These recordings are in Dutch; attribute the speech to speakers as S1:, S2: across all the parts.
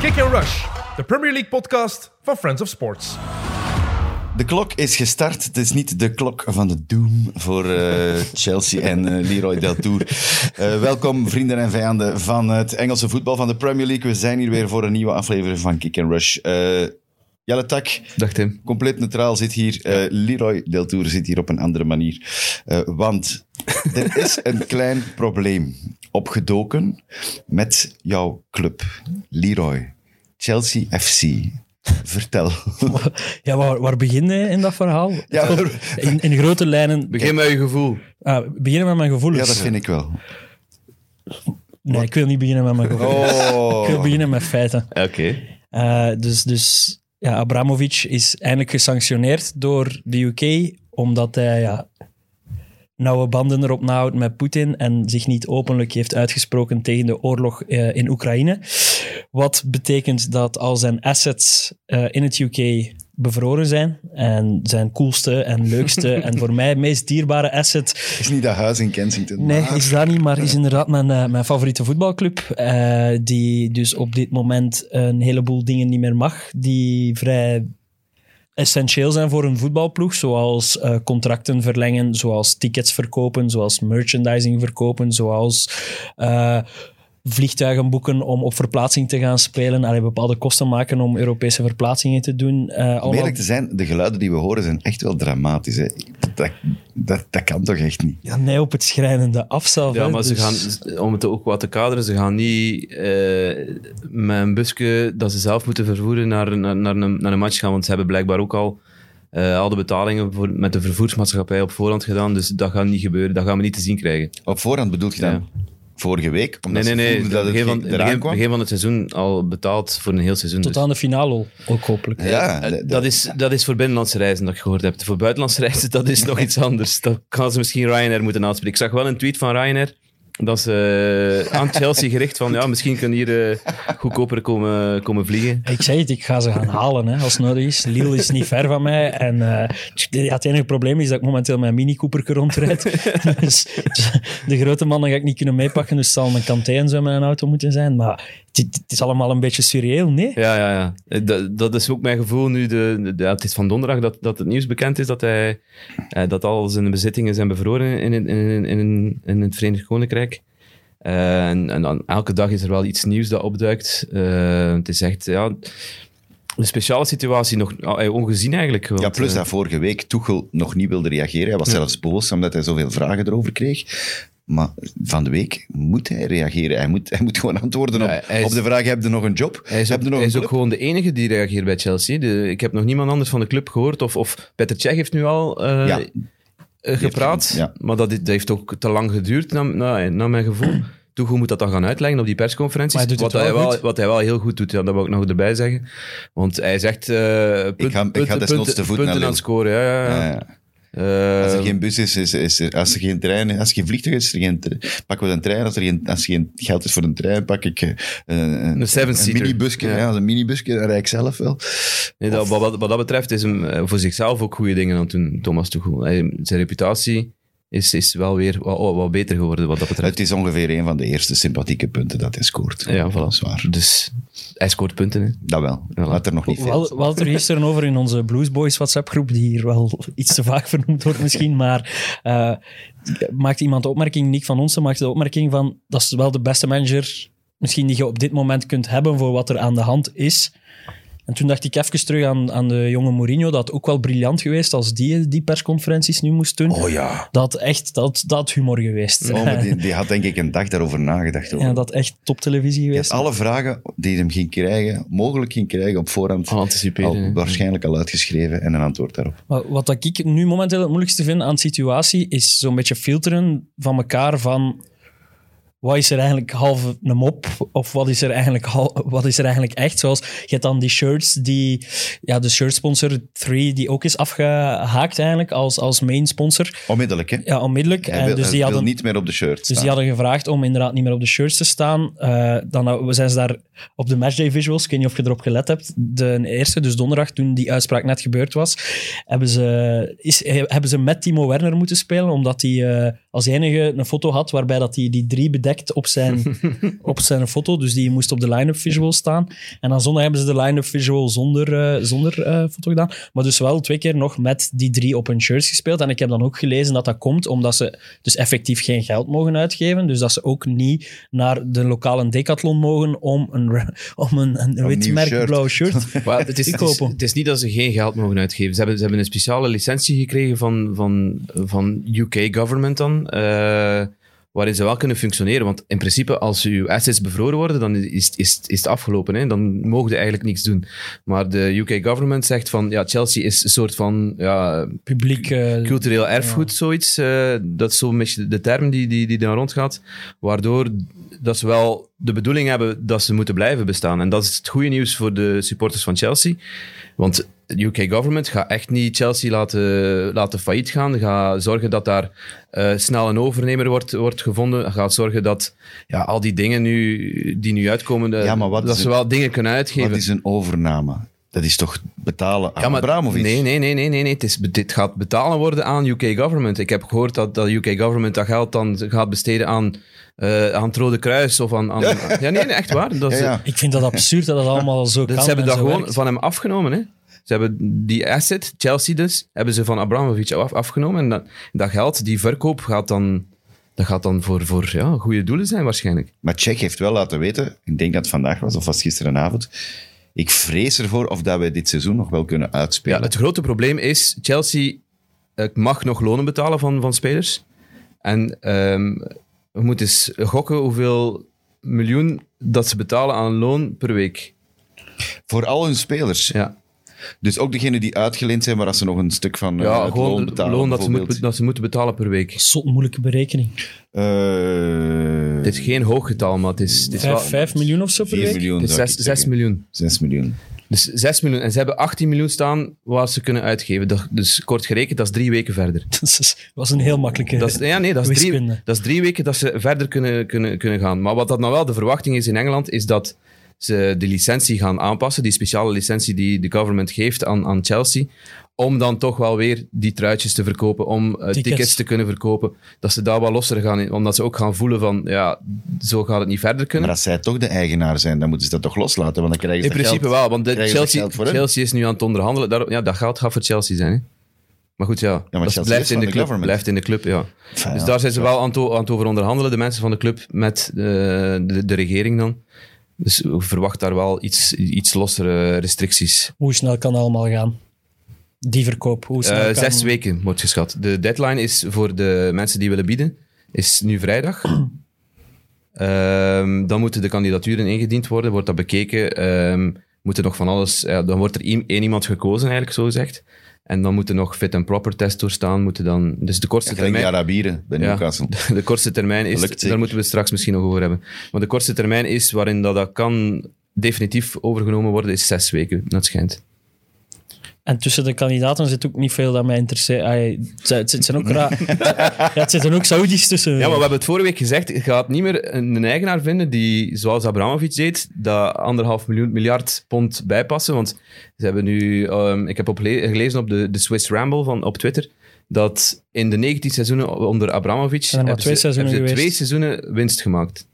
S1: Kick and Rush, de Premier League podcast van Friends of Sports.
S2: De klok is gestart. Het is niet de klok van de doom voor eh, Chelsea en eh, Leroy Deltour. Eh welkom, vrienden en vijanden van het Engelse voetbal van de Premier League. We zijn hier weer voor een nieuwe aflevering van Kick and Rush. Eh, Jelle Tak,
S3: Dag Tim.
S2: compleet neutraal, zit hier. Eh, Leroy Deltour zit hier op een andere manier. Eh, want er is een klein probleem opgedoken met jouw club, Leroy. Chelsea FC. Vertel.
S4: Ja, waar, waar begin je in dat verhaal?
S2: Ja,
S4: In, in grote lijnen.
S3: Begin met je gevoel.
S4: Ah, beginnen met mijn
S2: ja,
S4: gevoelens.
S2: dat vind ik wel.
S4: nee, ik wil niet beginnen met mijn gevoelens. Ik wil
S2: Oh.
S4: beginnen met feiten.
S3: Oké.
S4: Eh, dus dus ja, Abramovic is eindelijk gesanctioneerd door de UK, omdat hij ja, nauwe banden erop nahoudt met Poetin en zich niet openlijk heeft uitgesproken tegen de oorlog eh, in Oekraïne. Wat betekent dat al zijn assets eh, in het UK bevroren zijn en zijn coolste en leukste en voor mij meest dierbare asset
S2: is niet dat huis in Kensington.
S4: Nee,
S2: maar-
S4: is dat niet, maar is inderdaad mijn, eh, mijn favoriete voetbalclub. eh, die dus op dit moment een heleboel dingen niet meer mag. Die vrij essentieel zijn voor een voetbalploeg. Zoals eh, contracten verlengen, zoals tickets verkopen, zoals merchandising verkopen, zoals. eh, Vliegtuigen boeken om op verplaatsing te gaan spelen. Allee, bepaalde kosten maken om Europese verplaatsingen te doen. Eh,
S2: Om
S4: allemaal-
S2: eerlijk te zijn, de geluiden die we horen zijn echt wel dramatisch. Hè. Dat, dat, dat kan toch echt niet?
S4: ja, nee, op het schrijnende af zelf,
S3: Ja,
S4: hè,
S3: maar ze
S4: dus-
S3: gaan, om het ook wat te kaderen, ze gaan niet eh, met een busje dat ze zelf moeten vervoeren naar, naar, naar, een, naar een match gaan. Want ze hebben blijkbaar ook al, eh, al de betalingen voor, met de vervoersmaatschappij op voorhand gedaan. Dus dat gaat niet gebeuren. Dat gaan we niet te zien krijgen.
S2: Op voorhand bedoelt je dan vorige week? Omdat
S3: Nee, nee,
S2: ze
S3: nee.
S2: voelden dat het
S3: begin, van,
S2: ging- eraan
S3: begin,
S2: kwam?
S3: begin van het seizoen al betaald voor een heel seizoen.
S4: Tot
S3: dus.
S4: aan de finale ook hopelijk.
S2: ja,
S3: Eh,
S2: de- de-
S3: dat, is, dat is voor binnenlandse reizen, dat ik gehoord heb. Voor buitenlandse reizen, dat is nog iets anders. Dat gaan ze misschien Ryanair moeten aanspreken. Ik zag wel een tweet van Ryanair, dat ze eh, aan Chelsea gericht van, ja, misschien kunnen hier eh, goedkoper komen, komen vliegen.
S4: Ik zei het, ik ga ze gaan halen hè, als nodig is. Lille is niet ver van mij. En eh, ja, het enige probleem is dat ik momenteel mijn mini Cooperke rondrijd. dus de grote mannen ga ik niet kunnen meepakken. Dus het zal mijn kanté en zo met een auto moeten zijn. Maar het, het is allemaal een beetje surreëel, nee?
S3: Ja, ja, ja. Eh, Dat, dat is ook mijn gevoel nu. De, de- ja, het is van donderdag dat, dat het nieuws bekend is dat, hij, eh, dat al zijn bezittingen zijn bevroren in, in, in, in, in het Verenigd Koninkrijk. Eh, en, en dan elke dag is er wel iets nieuws dat opduikt. Eh, het is echt ja, een speciale situatie, nog eh, ongezien eigenlijk.
S2: ja,
S3: want,
S2: plus
S3: eh,
S2: dat vorige week Tuchel nog niet wilde reageren. Hij was zelfs boos omdat hij zoveel vragen erover kreeg. Maar van de week moet hij reageren. Hij moet, hij moet gewoon antwoorden op,
S3: Ja, hij is-
S2: op de vraag: heb je nog een job?
S3: Hij is,
S2: heb
S3: ook,
S2: je nog
S3: hij
S2: een
S3: is ook
S2: club?
S3: gewoon de enige die reageert bij Chelsea. De- ik heb nog niemand anders van de club gehoord. Of, of Peter Cech heeft nu al eh,
S2: Ja.
S3: eh, gepraat.
S2: ja.
S3: Maar dat, is- dat heeft ook te lang geduurd, naar, naar, naar mijn gevoel. Tuchel moet dat dan gaan uitleggen op die persconferenties.
S4: Maar hij doet
S3: wat,
S4: het wel
S3: hij wel,
S4: goed.
S3: wat hij wel heel goed doet, ja, dat wil ik nog erbij zeggen. Want hij zegt... eh punt,
S2: ga- ik ga
S3: punten-
S2: desnoods
S3: punten-
S2: te voet
S3: punten
S2: naar
S3: aan het scoren. Ja, ja, ja.
S2: Ja, ja.
S3: Eh,
S2: Als er geen bus is, is, is er, als er geen trein is, als er geen vliegtuig is, is er geen tre- pakken we een trein. Als er, geen, als er geen geld is voor een trein, pak ik eh, een,
S3: Een seven-seater.
S2: minibusje. Ja.
S3: Ja.
S2: een minibusje, dan rijd ik zelf wel.
S3: Nee, dat, wat, wat- wat dat betreft is hem eh, voor zichzelf ook goede dingen aan het doen, Thomas Tuchel. Hij- zijn reputatie is, is wel weer wat, wat beter geworden wat dat betreft.
S2: Het is ongeveer een van de eerste sympathieke punten dat hij scoort.
S3: Ja, voilà.
S2: Dat is waar.
S3: Dus hij scoort punten. Hè.
S2: Dat wel.
S3: Ja.
S2: Laat er nog niet
S4: We hadden-
S2: veel.
S4: we hadden het er gisteren over in onze Blues Boys WhatsApp-groep, die hier wel iets te vaak vernoemd wordt misschien, maar eh, maakt iemand de opmerking, Nick van Onsen maakt de opmerking van, dat is wel de beste manager misschien die je op dit moment kunt hebben voor wat er aan de hand is. En toen dacht ik even terug aan, aan de jonge Mourinho, dat ook wel briljant geweest als die die persconferenties nu moest doen.
S2: Oh ja.
S4: Dat echt, dat, dat humor geweest.
S2: Oh, maar die, die had denk ik een dag daarover nagedacht. Over.
S4: ja, dat echt toptelevisie
S2: Hij
S4: geweest.
S2: had alle vragen die hem ging krijgen, mogelijk ging krijgen op voorhand,
S3: Al anticiperen,
S2: al-
S3: hè.
S2: waarschijnlijk al uitgeschreven en een antwoord daarop.
S4: Maar wat dat ik nu momenteel het moeilijkste vind aan de situatie, is zo'n beetje filteren van elkaar van wat is er eigenlijk half een mop of wat is er eigenlijk, hal- wat is er eigenlijk echt. Zoals je hebt dan die shirts, die, ja, de shirtsponsor 3, die ook is afgehaakt eigenlijk als, als main sponsor.
S2: Onmiddellijk, hè?
S4: Ja, onmiddellijk.
S2: Hij
S4: en
S2: wil,
S4: dus
S2: hij
S4: die
S2: wil
S4: hadden
S2: niet meer op de shirt
S4: dus
S2: staan.
S4: die hadden gevraagd om inderdaad niet meer op de shirts te staan. Eh, dan zijn ze daar op de matchday visuals, ik weet niet of je erop gelet hebt, de eerste, dus donderdag, toen die uitspraak net gebeurd was, hebben ze, is, hebben ze met Timo Werner moeten spelen, omdat hij eh, als enige een foto had waarbij dat die, die drie bedekt effect op zijn, op zijn foto. Dus die moest op de line-up visual staan. En dan zondag hebben ze de line-up visual zonder, eh, zonder eh, foto gedaan. Maar dus wel twee keer nog met die drie op hun shirts gespeeld. En ik heb dan ook gelezen dat dat komt omdat ze dus effectief geen geld mogen uitgeven. Dus dat ze ook niet naar de lokale decathlon mogen om een, re- om een, een wit
S2: nieuw
S4: merk
S2: shirt.
S4: blauw shirt
S3: Maar het, is,
S4: Ik
S3: het, is,
S4: koop hem.
S3: het is niet dat ze geen geld mogen uitgeven. Ze hebben, ze hebben een speciale licentie gekregen van, van, van UK government dan, eh, waarin ze wel kunnen functioneren. Want in principe, als uw assets bevroren worden, dan is, is, is het afgelopen. Hè? Dan mogen ze eigenlijk niks doen. Maar de UK government zegt van, ja, Chelsea is een soort van ja,
S4: publiek. eh,
S3: cultureel erfgoed, zoiets. eh, dat is zo'n beetje de term die, die, die daar rondgaat. Waardoor dat ze wel de bedoeling hebben dat ze moeten blijven bestaan. En dat is het goede nieuws voor de supporters van Chelsea. Want de UK government gaat echt niet Chelsea laten, laten failliet gaan. Gaat zorgen dat daar eh, snel een overnemer wordt, wordt gevonden. Gaat zorgen dat ja, al die dingen nu, die nu uitkomen, eh,
S2: Ja, maar wat
S3: dat
S2: is
S3: ze
S2: het-
S3: wel dingen kunnen uitgeven.
S2: Wat is een overname? Dat is toch betalen aan
S3: Ja, maar-
S2: Abramovic?
S3: Nee, nee, nee, nee, nee. nee. Het is, dit gaat betalen worden aan UK government. Ik heb gehoord dat de UK government dat geld dan gaat besteden aan, eh, aan het Rode Kruis of aan... aan ja. nee, nee, echt waar. Dat is,
S2: Ja, ja.
S4: Ik vind dat absurd dat dat allemaal zo
S3: dat-
S4: kan.
S3: Dus ze hebben
S4: en
S3: dat
S4: zo
S3: gewoon
S4: werkt.
S3: van hem afgenomen, hè. Ze hebben die asset, Chelsea dus, hebben ze van Abramovic af, afgenomen. En dat, dat geld, die verkoop, gaat dan, dat gaat dan voor, voor ja, goede doelen zijn waarschijnlijk.
S2: Maar Czech heeft wel laten weten, ik denk dat het vandaag was of was het gisterenavond, ik vrees ervoor of dat wij dit seizoen nog wel kunnen
S3: Ja,
S2: uitspelen.
S3: het grote probleem is, Chelsea eh, mag nog lonen betalen van, van spelers. En ehm, we moeten eens gokken hoeveel miljoen dat ze betalen aan loon per week.
S2: Voor al hun spelers.
S3: Ja,
S2: Dus ook degenen die uitgeleend zijn, maar als ze nog een stuk van eh,
S3: ja
S2: het
S3: gewoon
S2: loon
S3: het
S2: betalen
S3: loon dat ze,
S2: bijvoorbeeld.
S3: moet- dat ze moeten betalen per week.
S4: Zot moeilijke berekening.
S2: Eh,
S3: Het is geen hoog getal, maar het is, het is wel...
S4: Vijf, vijf miljoen of zo per
S2: 4
S4: week?
S2: miljoen.
S3: Het is
S2: zou ik
S3: zes,
S2: zeggen.
S3: zes miljoen.
S2: Zes miljoen.
S3: Dus 6 miljoen. En ze hebben 18 miljoen staan waar ze kunnen uitgeven. Dat- Dus kort gerekend, dat is drie weken verder.
S4: Dat was een heel makkelijke.
S3: Dat is, ja, nee, dat is, drie,
S4: Wiskunde.
S3: dat is drie weken dat ze verder kunnen, kunnen, kunnen gaan. Maar wat dat nou wel de verwachting is in Engeland, is dat ze de licentie gaan aanpassen, die speciale licentie die de government geeft aan, aan Chelsea, om dan toch wel weer die truitjes te verkopen, om eh, tickets.
S4: Tickets
S3: te kunnen verkopen. Dat ze daar wel losser gaan in, omdat ze ook gaan voelen van, ja, zo gaat het niet verder
S2: Maar
S3: kunnen.
S2: als zij toch de eigenaar zijn, dan moeten ze dat toch loslaten, want dan krijgen ze
S3: In
S2: dat
S3: principe
S2: geld.
S3: wel, want de
S2: krijgen ze
S3: Chelsea,
S2: geld voor hem.
S3: Chelsea is nu aan het onderhandelen. Daar, ja, dat geld gaat voor Chelsea zijn, hè. Maar goed, ja, dat
S2: Chelsea
S3: blijft
S2: is
S3: in
S2: van
S3: de
S2: de
S3: club.
S2: government.
S3: blijft in de club, ja.
S2: Enfin,
S3: Dus
S2: ja.
S3: daar zijn ze wel aan het, o- aan het over onderhandelen, de mensen van de club, met eh, de, de regering dan. Dus ik verwacht daar wel iets, iets lossere restricties.
S4: Hoe snel kan dat allemaal gaan? Die verkoop. Hoe snel
S3: Eh,
S4: kan...
S3: zes weken wordt geschat. De deadline is voor de mensen die willen bieden, is nu vrijdag. Ehm, dan moeten de kandidaturen ingediend worden, wordt dat bekeken. ehm moet er nog van alles... ja, dan wordt er i- één iemand gekozen, eigenlijk, zo gezegd. En dan moeten nog fit en proper test doorstaan. Moeten dan, dus de kortste
S2: Gelijk
S3: termijn...
S2: die Arabieren bij
S3: Ja.
S2: Newcastle.
S3: De kortste termijn is,
S2: Lukt
S3: daar
S2: zeker.
S3: moeten we het straks misschien nog over hebben. Maar de kortste termijn is waarin dat, dat kan definitief overgenomen worden, is zes weken, dat schijnt.
S4: En tussen de kandidaten zit ook niet veel dat mij interesseert. Ai, het zijn- het zijn ook raar. ja, het zitten ook Saudis tussen.
S3: Ja, maar we hebben het vorige week gezegd, je gaat niet meer een een eigenaar vinden die, zoals Abramovic deed, dat anderhalf miljoen, miljard pond bijpassen. Want ze hebben nu, ehm, ik heb op le- gelezen op de, de Swiss Ramble van, op Twitter, dat in de 19 seizoenen onder Abramovic
S4: Zijn er maar
S3: hebben
S4: twee
S3: ze-
S4: seizoenen
S3: hebben ze twee
S4: geweest.
S3: seizoenen winst gemaakt.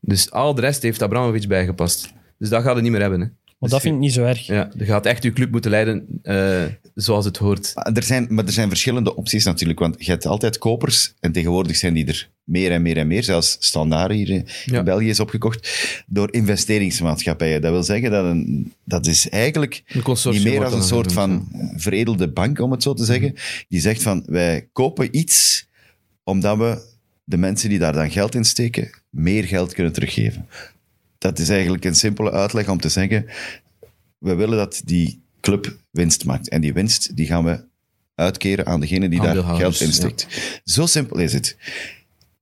S3: Dus al de rest heeft Abramovic bijgepast. Dus dat gaat het niet meer hebben. Hè.
S4: Maar dat vind ik niet zo erg.
S3: Ja, je gaat echt je club moeten leiden eh, zoals het hoort.
S2: Maar er, zijn, maar er zijn verschillende opties natuurlijk, want je hebt altijd kopers en tegenwoordig zijn die er meer en meer en meer. Zelfs Standaard hier in
S3: Ja.
S2: België is opgekocht door investeringsmaatschappijen. Dat wil zeggen dat een, dat is eigenlijk
S3: Een consortium
S2: niet meer als
S3: wordt
S2: een
S3: dan
S2: soort
S3: genoemd,
S2: van veredelde bank, om het zo te zeggen, die zegt van wij kopen iets omdat we de mensen die daar dan geld in steken meer geld kunnen teruggeven. Dat is eigenlijk een simpele uitleg om te zeggen we willen dat die club winst maakt. En die winst die gaan we uitkeren aan degene die daar
S3: Aandeelhouders,
S2: geld in steekt. Zo simpel is het.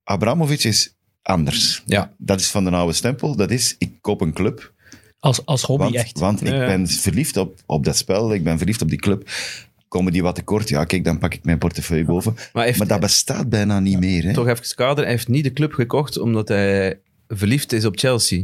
S2: Abramovic is anders.
S3: Ja,
S2: Dat is van de oude stempel. Dat is, ik koop een club,
S4: Als, als hobby
S2: want,
S4: echt.
S2: want
S3: Ja,
S2: ik
S3: ja.
S2: ben verliefd op, op dat spel, ik ben verliefd op die club. Komen die wat tekort? Ja, kijk, dan pak ik mijn portefeuille boven.
S3: Maar
S2: Maar,
S3: heeft-
S2: dat bestaat bijna niet meer. Hè?
S3: toch even kader. Hij heeft niet de club gekocht omdat hij verliefd is op Chelsea.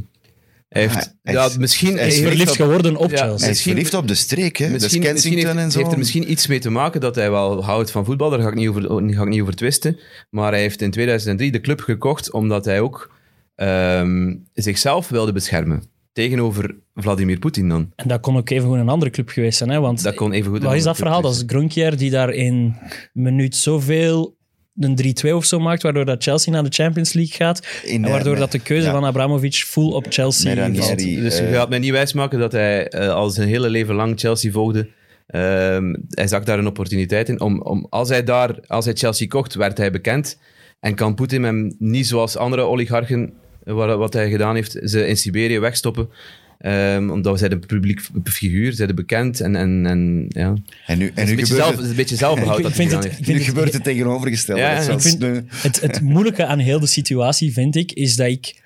S3: Hij heeft,
S2: hij
S3: ja,
S2: is-
S3: misschien,
S2: hij is
S3: hij heeft-
S4: Verliefd geworden op
S2: Hij
S3: Ja,
S4: Chelsea.
S2: is
S3: Misschien-
S2: verliefd op de streek, hè? Dus Kensington
S3: heeft,
S2: en zo.
S3: heeft er misschien iets mee te maken dat hij wel houdt van voetbal. Daar ga ik niet over, ga ik niet over twisten. Maar hij heeft in 2003 de club gekocht omdat hij ook ehm, zichzelf wilde beschermen. Tegenover Vladimir Poetin dan.
S4: En dat kon ook even gewoon een andere club geweest zijn. Hè? Want
S3: Dat kon even goed.
S4: wat is dat verhaal? Dat is Gronkjaer die daar in minuut zoveel een 3-2 of zo maakt, waardoor dat Chelsea naar de Champions League gaat.
S2: In,
S4: en waardoor
S2: eh,
S4: dat de keuze
S2: ja.
S4: van Abramovic full op Chelsea
S2: Met Ranieri.
S4: valt.
S2: die,
S3: Dus je
S2: eh,
S3: gaat mij niet wijsmaken dat hij eh, al zijn hele leven lang Chelsea volgde. Ehm, hij zag daar een opportuniteit in. Om, om, als, hij daar, als hij Chelsea kocht, werd hij bekend. En kan Poetin hem niet zoals andere oligarchen, eh, wat, wat hij gedaan heeft, ze in Siberië wegstoppen. Ehm, omdat zij de publiek f- figuur, zij de bekend. En, en, en, ja.
S2: En nu, en
S3: een,
S2: nu
S3: beetje
S2: gebeurt
S3: zelf,
S2: het,
S3: een beetje zelfbehoud
S4: Ik
S3: dat hij
S4: vind
S3: gedaan
S4: het-
S3: heeft.
S2: nu
S4: vind het-
S2: gebeurt het tegenovergestelde.
S3: Ja, ja,
S2: Dat
S3: ik
S2: zelfs
S4: vind-
S2: de-
S4: Het, het moeilijke aan heel de situatie, vind ik, is dat ik,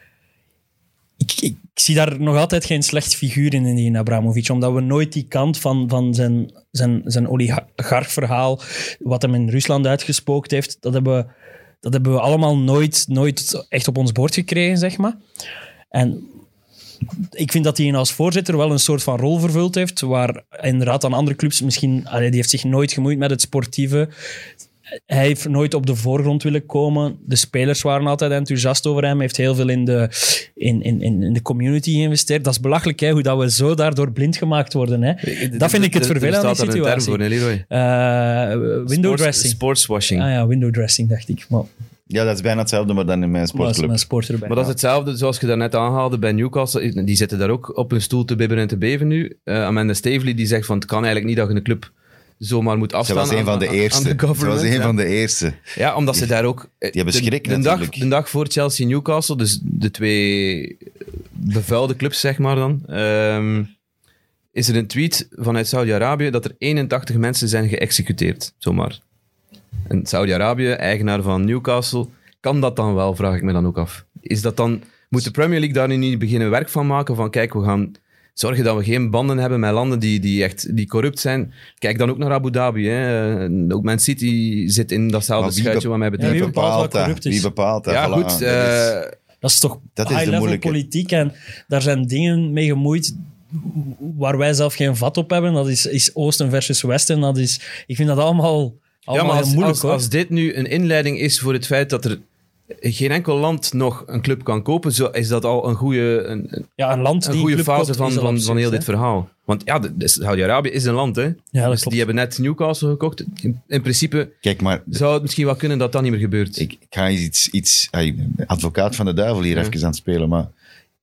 S4: ik, ik... zie daar nog altijd geen slecht figuur in, in die Abramovic. Omdat we nooit die kant van, van zijn, zijn, zijn oligarchverhaal, wat hem in Rusland uitgespookt heeft, dat hebben we, dat hebben we allemaal nooit, nooit echt op ons bord gekregen, zeg maar. En ik vind dat hij als voorzitter wel een soort van rol vervuld heeft, waar inderdaad aan andere clubs misschien... allee, die heeft zich nooit gemoeid met het sportieve. Hij heeft nooit op de voorgrond willen komen. De spelers waren altijd enthousiast over hem. Hij heeft heel veel in de, in, in, in in de community geïnvesteerd. Dat is belachelijk, hè, hoe dat we zo daardoor blind gemaakt worden. Hè. Dat vind ik het vervelend aan
S3: Er
S4: die
S3: bestaat daar een term
S4: situatie.
S3: voor, hè, Leroy?
S4: Eh, window
S3: Sports-
S4: dressing.
S3: Sportswashing.
S4: Ah ja, window dressing, dacht ik. Maar
S2: ja, dat is bijna hetzelfde, maar dan in mijn
S4: dat is
S2: sportclub.
S4: mijn sport erbij.
S3: Maar dat is hetzelfde zoals je daarnet aanhaalde bij Newcastle. Die zitten daar ook op hun stoel te bibberen en te beven nu. Eh Amanda Staveley die zegt van het kan eigenlijk niet dat je een club zomaar moet
S2: Ze
S3: afstaan
S2: was een
S3: aan-
S2: van de
S3: aan- aan de
S2: eerste. Ze was
S3: government,
S2: een
S3: ja.
S2: van de eerste.
S3: Ja, omdat ze daar ook... eh,
S2: Die hebben
S3: de-
S2: schrik
S3: de, dag,
S2: natuurlijk.
S3: de dag voor Chelsea-Newcastle, dus de twee bevuilde clubs, zeg maar dan, ehm, is er een tweet vanuit Saudi-Arabië dat er 81 mensen zijn geëxecuteerd, zomaar. En Saudi-Arabië, eigenaar van Newcastle, kan dat dan wel, vraag ik me dan ook af. Is dat dan... Moet de Premier League daar nu niet beginnen werk van maken? Van kijk, we gaan zorgen dat we geen banden hebben met landen die, die echt die corrupt zijn. Kijk dan ook naar Abu Dhabi. Hè. Eh, Ook Man City zit in datzelfde
S2: Maar wie
S3: schuitje
S2: be-
S3: wat mij
S4: Ja,
S3: betreft.
S2: Wie
S4: wie bepaalt
S2: bepaalt
S4: wat
S2: dat?
S4: corrupt is?
S2: Wie bepaalt dat?
S3: Ja,
S2: Voilà,
S3: goed.
S2: dat is-
S3: eh,
S4: Dat is toch
S2: Dat is de
S4: high-level
S2: moeilijke.
S4: politiek en daar zijn dingen mee gemoeid waar wij zelf geen vat op hebben. Dat is, is Oosten versus Westen. Dat is, ik vind dat allemaal,
S3: ja,
S4: allemaal
S3: maar als,
S4: heel moeilijk
S3: als,
S4: hoor.
S3: als dit nu een inleiding is voor het feit dat er geen enkel land nog een club kan kopen, zo is dat al een goede, een, een
S4: ja, een land die een
S3: goede
S4: club
S3: fase
S4: koopt,
S3: van,
S4: is al op
S3: van,
S4: zich,
S3: van heel
S4: hè.
S3: dit verhaal. Want ja, de- de Saudi-Arabië is een land, hè.
S4: Ja, dat
S3: dus
S4: klopt.
S3: die hebben net Newcastle gekocht. In, in principe
S2: Kijk, maar
S3: zou het misschien wel kunnen dat dat niet meer gebeurt.
S2: ik, ik ga eens iets, iets ah, advocaat van de duivel hier
S3: Ja.
S2: even aan het spelen, maar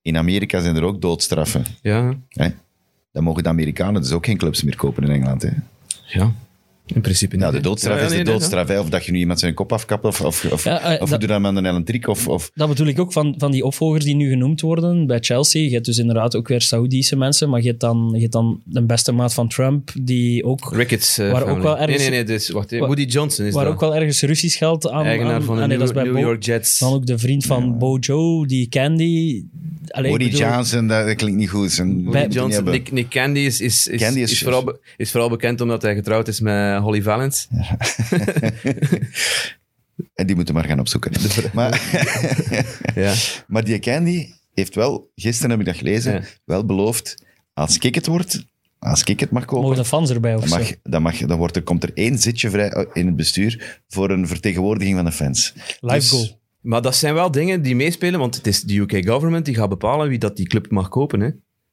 S2: in Amerika zijn er ook doodstraffen.
S3: ja.
S2: Hè? Dan mogen de Amerikanen dus ook geen clubs meer kopen in Engeland. Hè?
S3: ja, in principe niet.
S2: Nou, de doodstraf
S3: Ja,
S2: is
S3: nee,
S2: de
S3: nee,
S2: doodstraf. hè. Of dat je nu iemand zijn kop afkapt, of, of, of,
S4: Ja, eh,
S2: of
S4: dat-
S2: doe dat met een elektriek. Of, of,
S4: Dat bedoel ik ook van, van die opvolgers die nu genoemd worden bij Chelsea. Je hebt dus inderdaad ook weer Saoedische mensen, maar je hebt dan, je hebt dan de beste maat van Trump, die ook,
S3: Ricketts. eh,
S4: Waar ook
S3: family.
S4: wel ergens-
S3: Nee, nee, nee. Dus, wacht, hè.
S4: Wa-
S3: Woody Johnson is
S4: waar
S3: dat.
S4: ook wel ergens Russisch geld aan...
S3: Eigenaar
S4: aan-
S3: van de
S4: ah, nee, dat
S3: New,
S4: is bij
S3: New
S4: Bo-
S3: York Jets.
S4: Dan ook de vriend van Bojo, die Candy. Allee, ik
S2: Woody
S4: bedoel-
S2: Johnson, dat, dat klinkt niet goed. Zijn,
S3: Woody
S2: moet je niet
S3: Johnson.
S2: hebben.
S3: Nick, Nick Candy is, is, is,
S2: Candy
S3: is,
S2: is-
S3: vooral, be- is vooral bekend omdat hij getrouwd is met Holly Valance.
S2: En die moeten maar gaan opzoeken. Maar,
S3: Ja.
S2: maar die Candy heeft wel, gisteren heb ik dat gelezen,
S3: Ja.
S2: wel beloofd, als ik het word, als ik het mag kopen,
S4: Mogen de fans erbij of
S2: dan,
S4: zo?
S2: mag, dan, mag, dan wordt er, komt er één zitje vrij oh, in het bestuur voor een vertegenwoordiging van de fans.
S4: Live
S2: Dus-
S4: goal.
S3: Maar dat zijn wel dingen die meespelen, want het is de UK government die gaat bepalen wie dat die club mag kopen. Hè.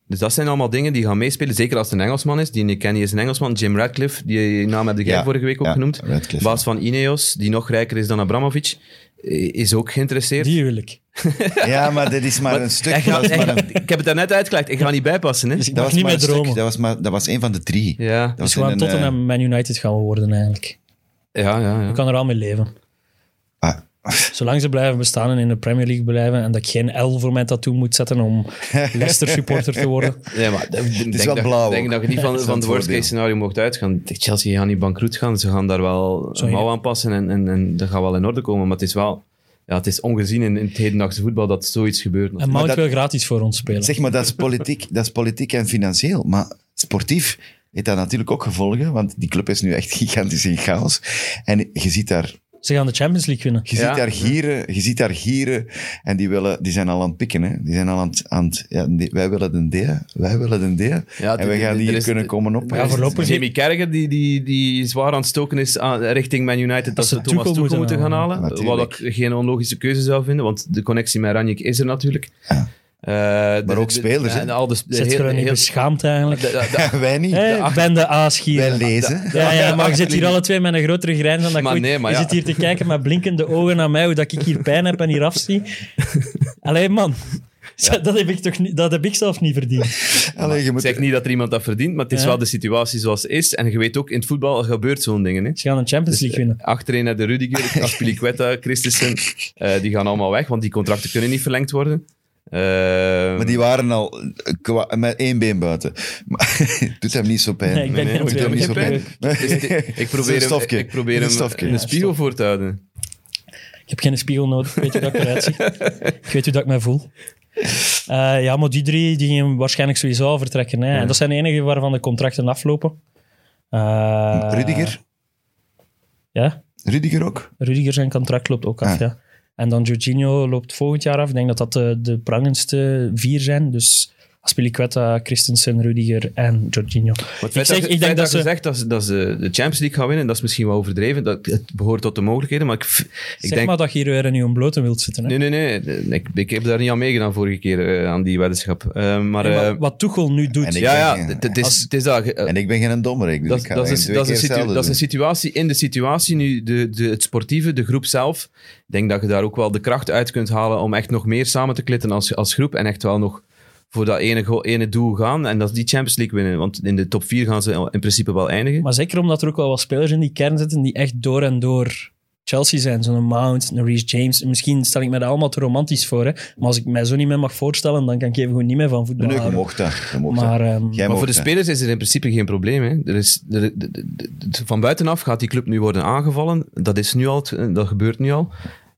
S3: Dus dat zijn allemaal dingen die gaan meespelen, zeker als het een Engelsman is. Die Nick Candy is een Engelsman. Jim Radcliffe, die naam heb jij
S2: Ja,
S3: vorige week ook
S2: ja,
S3: genoemd.
S2: Radcliffe.
S3: Baas van Ineos, die nog rijker is dan Abramovic, eh, is ook geïnteresseerd.
S4: Die wil ik.
S2: Ja, maar dit is maar,
S3: Maar
S2: een stuk.
S3: hij gaat-
S2: dat is
S3: hij
S2: maar een-
S3: gaat- ik heb het daarnet uitgelegd, ik ga niet bijpassen. Hè.
S4: Dus ik
S2: dat
S4: mag
S2: was
S4: niet
S2: maar
S4: meer
S2: een stuk.
S4: dromen.
S2: Dat was, maar, dat was een van de drie.
S3: Ja,
S2: Dat
S4: Dus
S2: was
S4: we
S2: in
S4: gaan
S2: een,
S4: Tottenham
S2: eh,
S4: en Man United gaan we worden eigenlijk.
S3: ja, ja. ja.
S4: Ik kan er al mee leven.
S2: ah,
S4: Zolang ze blijven bestaan en in de Premier League blijven en dat ik geen L voor mijn tattoo moet zetten om Leicester supporter te worden.
S3: Nee, maar het is denk
S2: wel
S3: dat,
S2: blauw
S3: Denk
S2: ook.
S3: dat je niet van,
S2: Dat is
S3: van het
S2: het
S3: worst case
S2: voordeel.
S3: scenario mocht uitgaan. Chelsea gaat niet bankroet gaan. Ze gaan daar wel
S4: Zo,
S3: een mouw
S4: ja.
S3: aanpassen en, en, en dat gaat wel in orde komen. Maar het is wel... Ja, het is ongezien in, in het hedendaagse voetbal dat zoiets gebeurt.
S4: En Mount
S2: dat-
S4: wil gratis voor ons spelen.
S2: zeg maar, dat is, politiek, dat is politiek en financieel. Maar sportief heeft dat natuurlijk ook gevolgen, want die club is nu echt gigantisch in chaos. En je ziet daar
S4: Ze gaan de Champions League winnen.
S2: Je,
S3: Ja.
S2: ziet daar gieren, je ziet daar gieren en die, willen, die zijn al aan het pikken. Hè? Die zijn al aan het... Aan het ja, nee, wij willen een D, wij willen een D. en we
S3: dit-
S2: gaan
S3: dit-
S2: die
S3: er
S2: hier
S3: is-
S2: kunnen komen op.
S3: Maar
S4: Ja, voorlopig-
S3: Jamie Carragher, die, die, die zwaar aan het stoken is aan, richting Man United, dat
S4: ze
S3: ze Thomas
S4: Tuchel
S3: Tuchel moeten,
S4: moeten
S3: gaan
S4: halen.
S3: halen.
S2: Natuurlijk.
S3: Wat ik geen onlogische keuze zou vinden, want de connectie met Ranjik is er natuurlijk. Eh, de-
S2: Maar ook
S3: de-
S2: spelers, hè?
S3: En al de, de
S4: Zit
S3: heel-
S4: er niet
S3: heel-
S4: beschaamd eigenlijk?
S3: de- de- de-
S2: Wij niet.
S4: Hé,
S3: acht-
S4: ben de
S2: Wij
S4: aasgier.
S2: lezen.
S4: Ja, ja, maar je
S3: acht-
S4: zit hier alle twee met een grotere grijns dan dat ik
S3: Maar
S4: ooit-
S3: nee, maar
S4: Je
S3: ja.
S4: zit hier te kijken met blinkende ogen naar mij, hoe dat ik hier pijn heb en hier afzie. Allee, man. Dat, heb ik toch niet, dat heb ik zelf niet verdiend.
S2: Allee, je
S3: Ik
S2: moet...
S3: zeg niet dat er iemand dat verdient, maar het is
S4: Ja.
S3: wel de situatie zoals ze is. En je weet ook, in het voetbal gebeurt zo'n dingen. Hè.
S4: Ze gaan een
S3: Dus,
S4: Champions League
S3: eh,
S4: winnen.
S3: Achterin hebben de Rudiger, Aspilicueta, Christensen. eh, die gaan allemaal weg, want die contracten kunnen niet verlengd worden. Eh,
S2: Maar die waren al kwa- met één been buiten. Maar, doet hem niet zo pijn.
S4: Nee, ik ben
S3: nee,
S4: geen
S2: doet
S3: doet
S4: tweede.
S2: hem niet
S3: Ik
S2: zo
S3: heb
S2: pijn.
S3: Dus het- ik
S2: Het is een
S3: probeer hem,
S2: stofje.
S3: ik probeer
S2: Het is
S3: hem
S2: een stofje.
S3: in de spiegel voor te houden.
S4: Ik heb geen spiegel nodig. Ik weet hoe dat ik eruit zie. Ik weet hoe dat ik mij voel. Eh, ja, maar die drie die gingen waarschijnlijk sowieso al vertrekken. Hè. En dat zijn de enigen waarvan de contracten aflopen. Eh,
S2: Rudiger?
S4: Ja,
S2: Rudiger ook?
S4: Rudiger zijn contract loopt ook af.
S2: Ah.
S4: Ja. En dan Jorginho loopt volgend jaar af. Ik denk dat dat de, de prangendste vier zijn. Dus Aspilicueta, Christensen, Rudiger en Jorginho.
S3: Wat
S4: Ik, zeg, ik denk dat ze...
S3: zegt dat ze, dat ze de Champions League gaan winnen, dat is misschien wel overdreven. Dat, het behoort tot de mogelijkheden, maar ik, f- ik
S4: Zeg
S3: denk...
S4: maar dat je hier weer in je blote wilt zitten. Hè.
S3: Nee, nee, nee. Ik, ik heb daar niet aan meegedaan vorige keer, eh, aan die weddenschap. Eh, maar...
S4: Nee, maar
S3: eh,
S4: wat Tuchel nu doet...
S2: En ik-
S3: ja, ja,
S2: denk, eh,
S3: het- het is-
S4: als-
S3: het is dat... eh,
S2: En ik ben geen dommerik, dus
S3: Dat,
S2: ik ga
S3: dat,
S2: dat
S3: is,
S2: twee
S3: dat, is
S2: keer
S3: een situ-
S2: hetzelfde
S3: dat is een
S2: doen.
S3: situatie in de situatie, nu de, de, het sportieve, de groep zelf. Ik denk dat je daar ook wel de kracht uit kunt halen om echt nog meer samen te klitten als, als groep. En echt wel nog voor dat ene, go- ene doel gaan. En dat is die Champions League winnen. Want in de top 4 gaan ze in principe wel eindigen.
S4: Maar zeker omdat er ook wel wat spelers in die kern zitten die echt door en door Chelsea zijn. Zo'n Mount, een Reece James. Misschien stel ik me daar allemaal te romantisch voor. Hè. Maar als ik mij zo niet meer mag voorstellen, dan kan ik even gewoon niet meer van voetbal
S2: Nee, je
S4: houden.
S2: mocht dat. Je mocht dat.
S4: Maar ehm,
S2: Jij
S3: Maar voor de
S2: mocht dat.
S3: spelers is er in principe geen probleem. Hè. Er is, er- de- de- de- de- van buitenaf gaat die club nu worden aangevallen. Dat, is nu al, het- dat gebeurt nu al.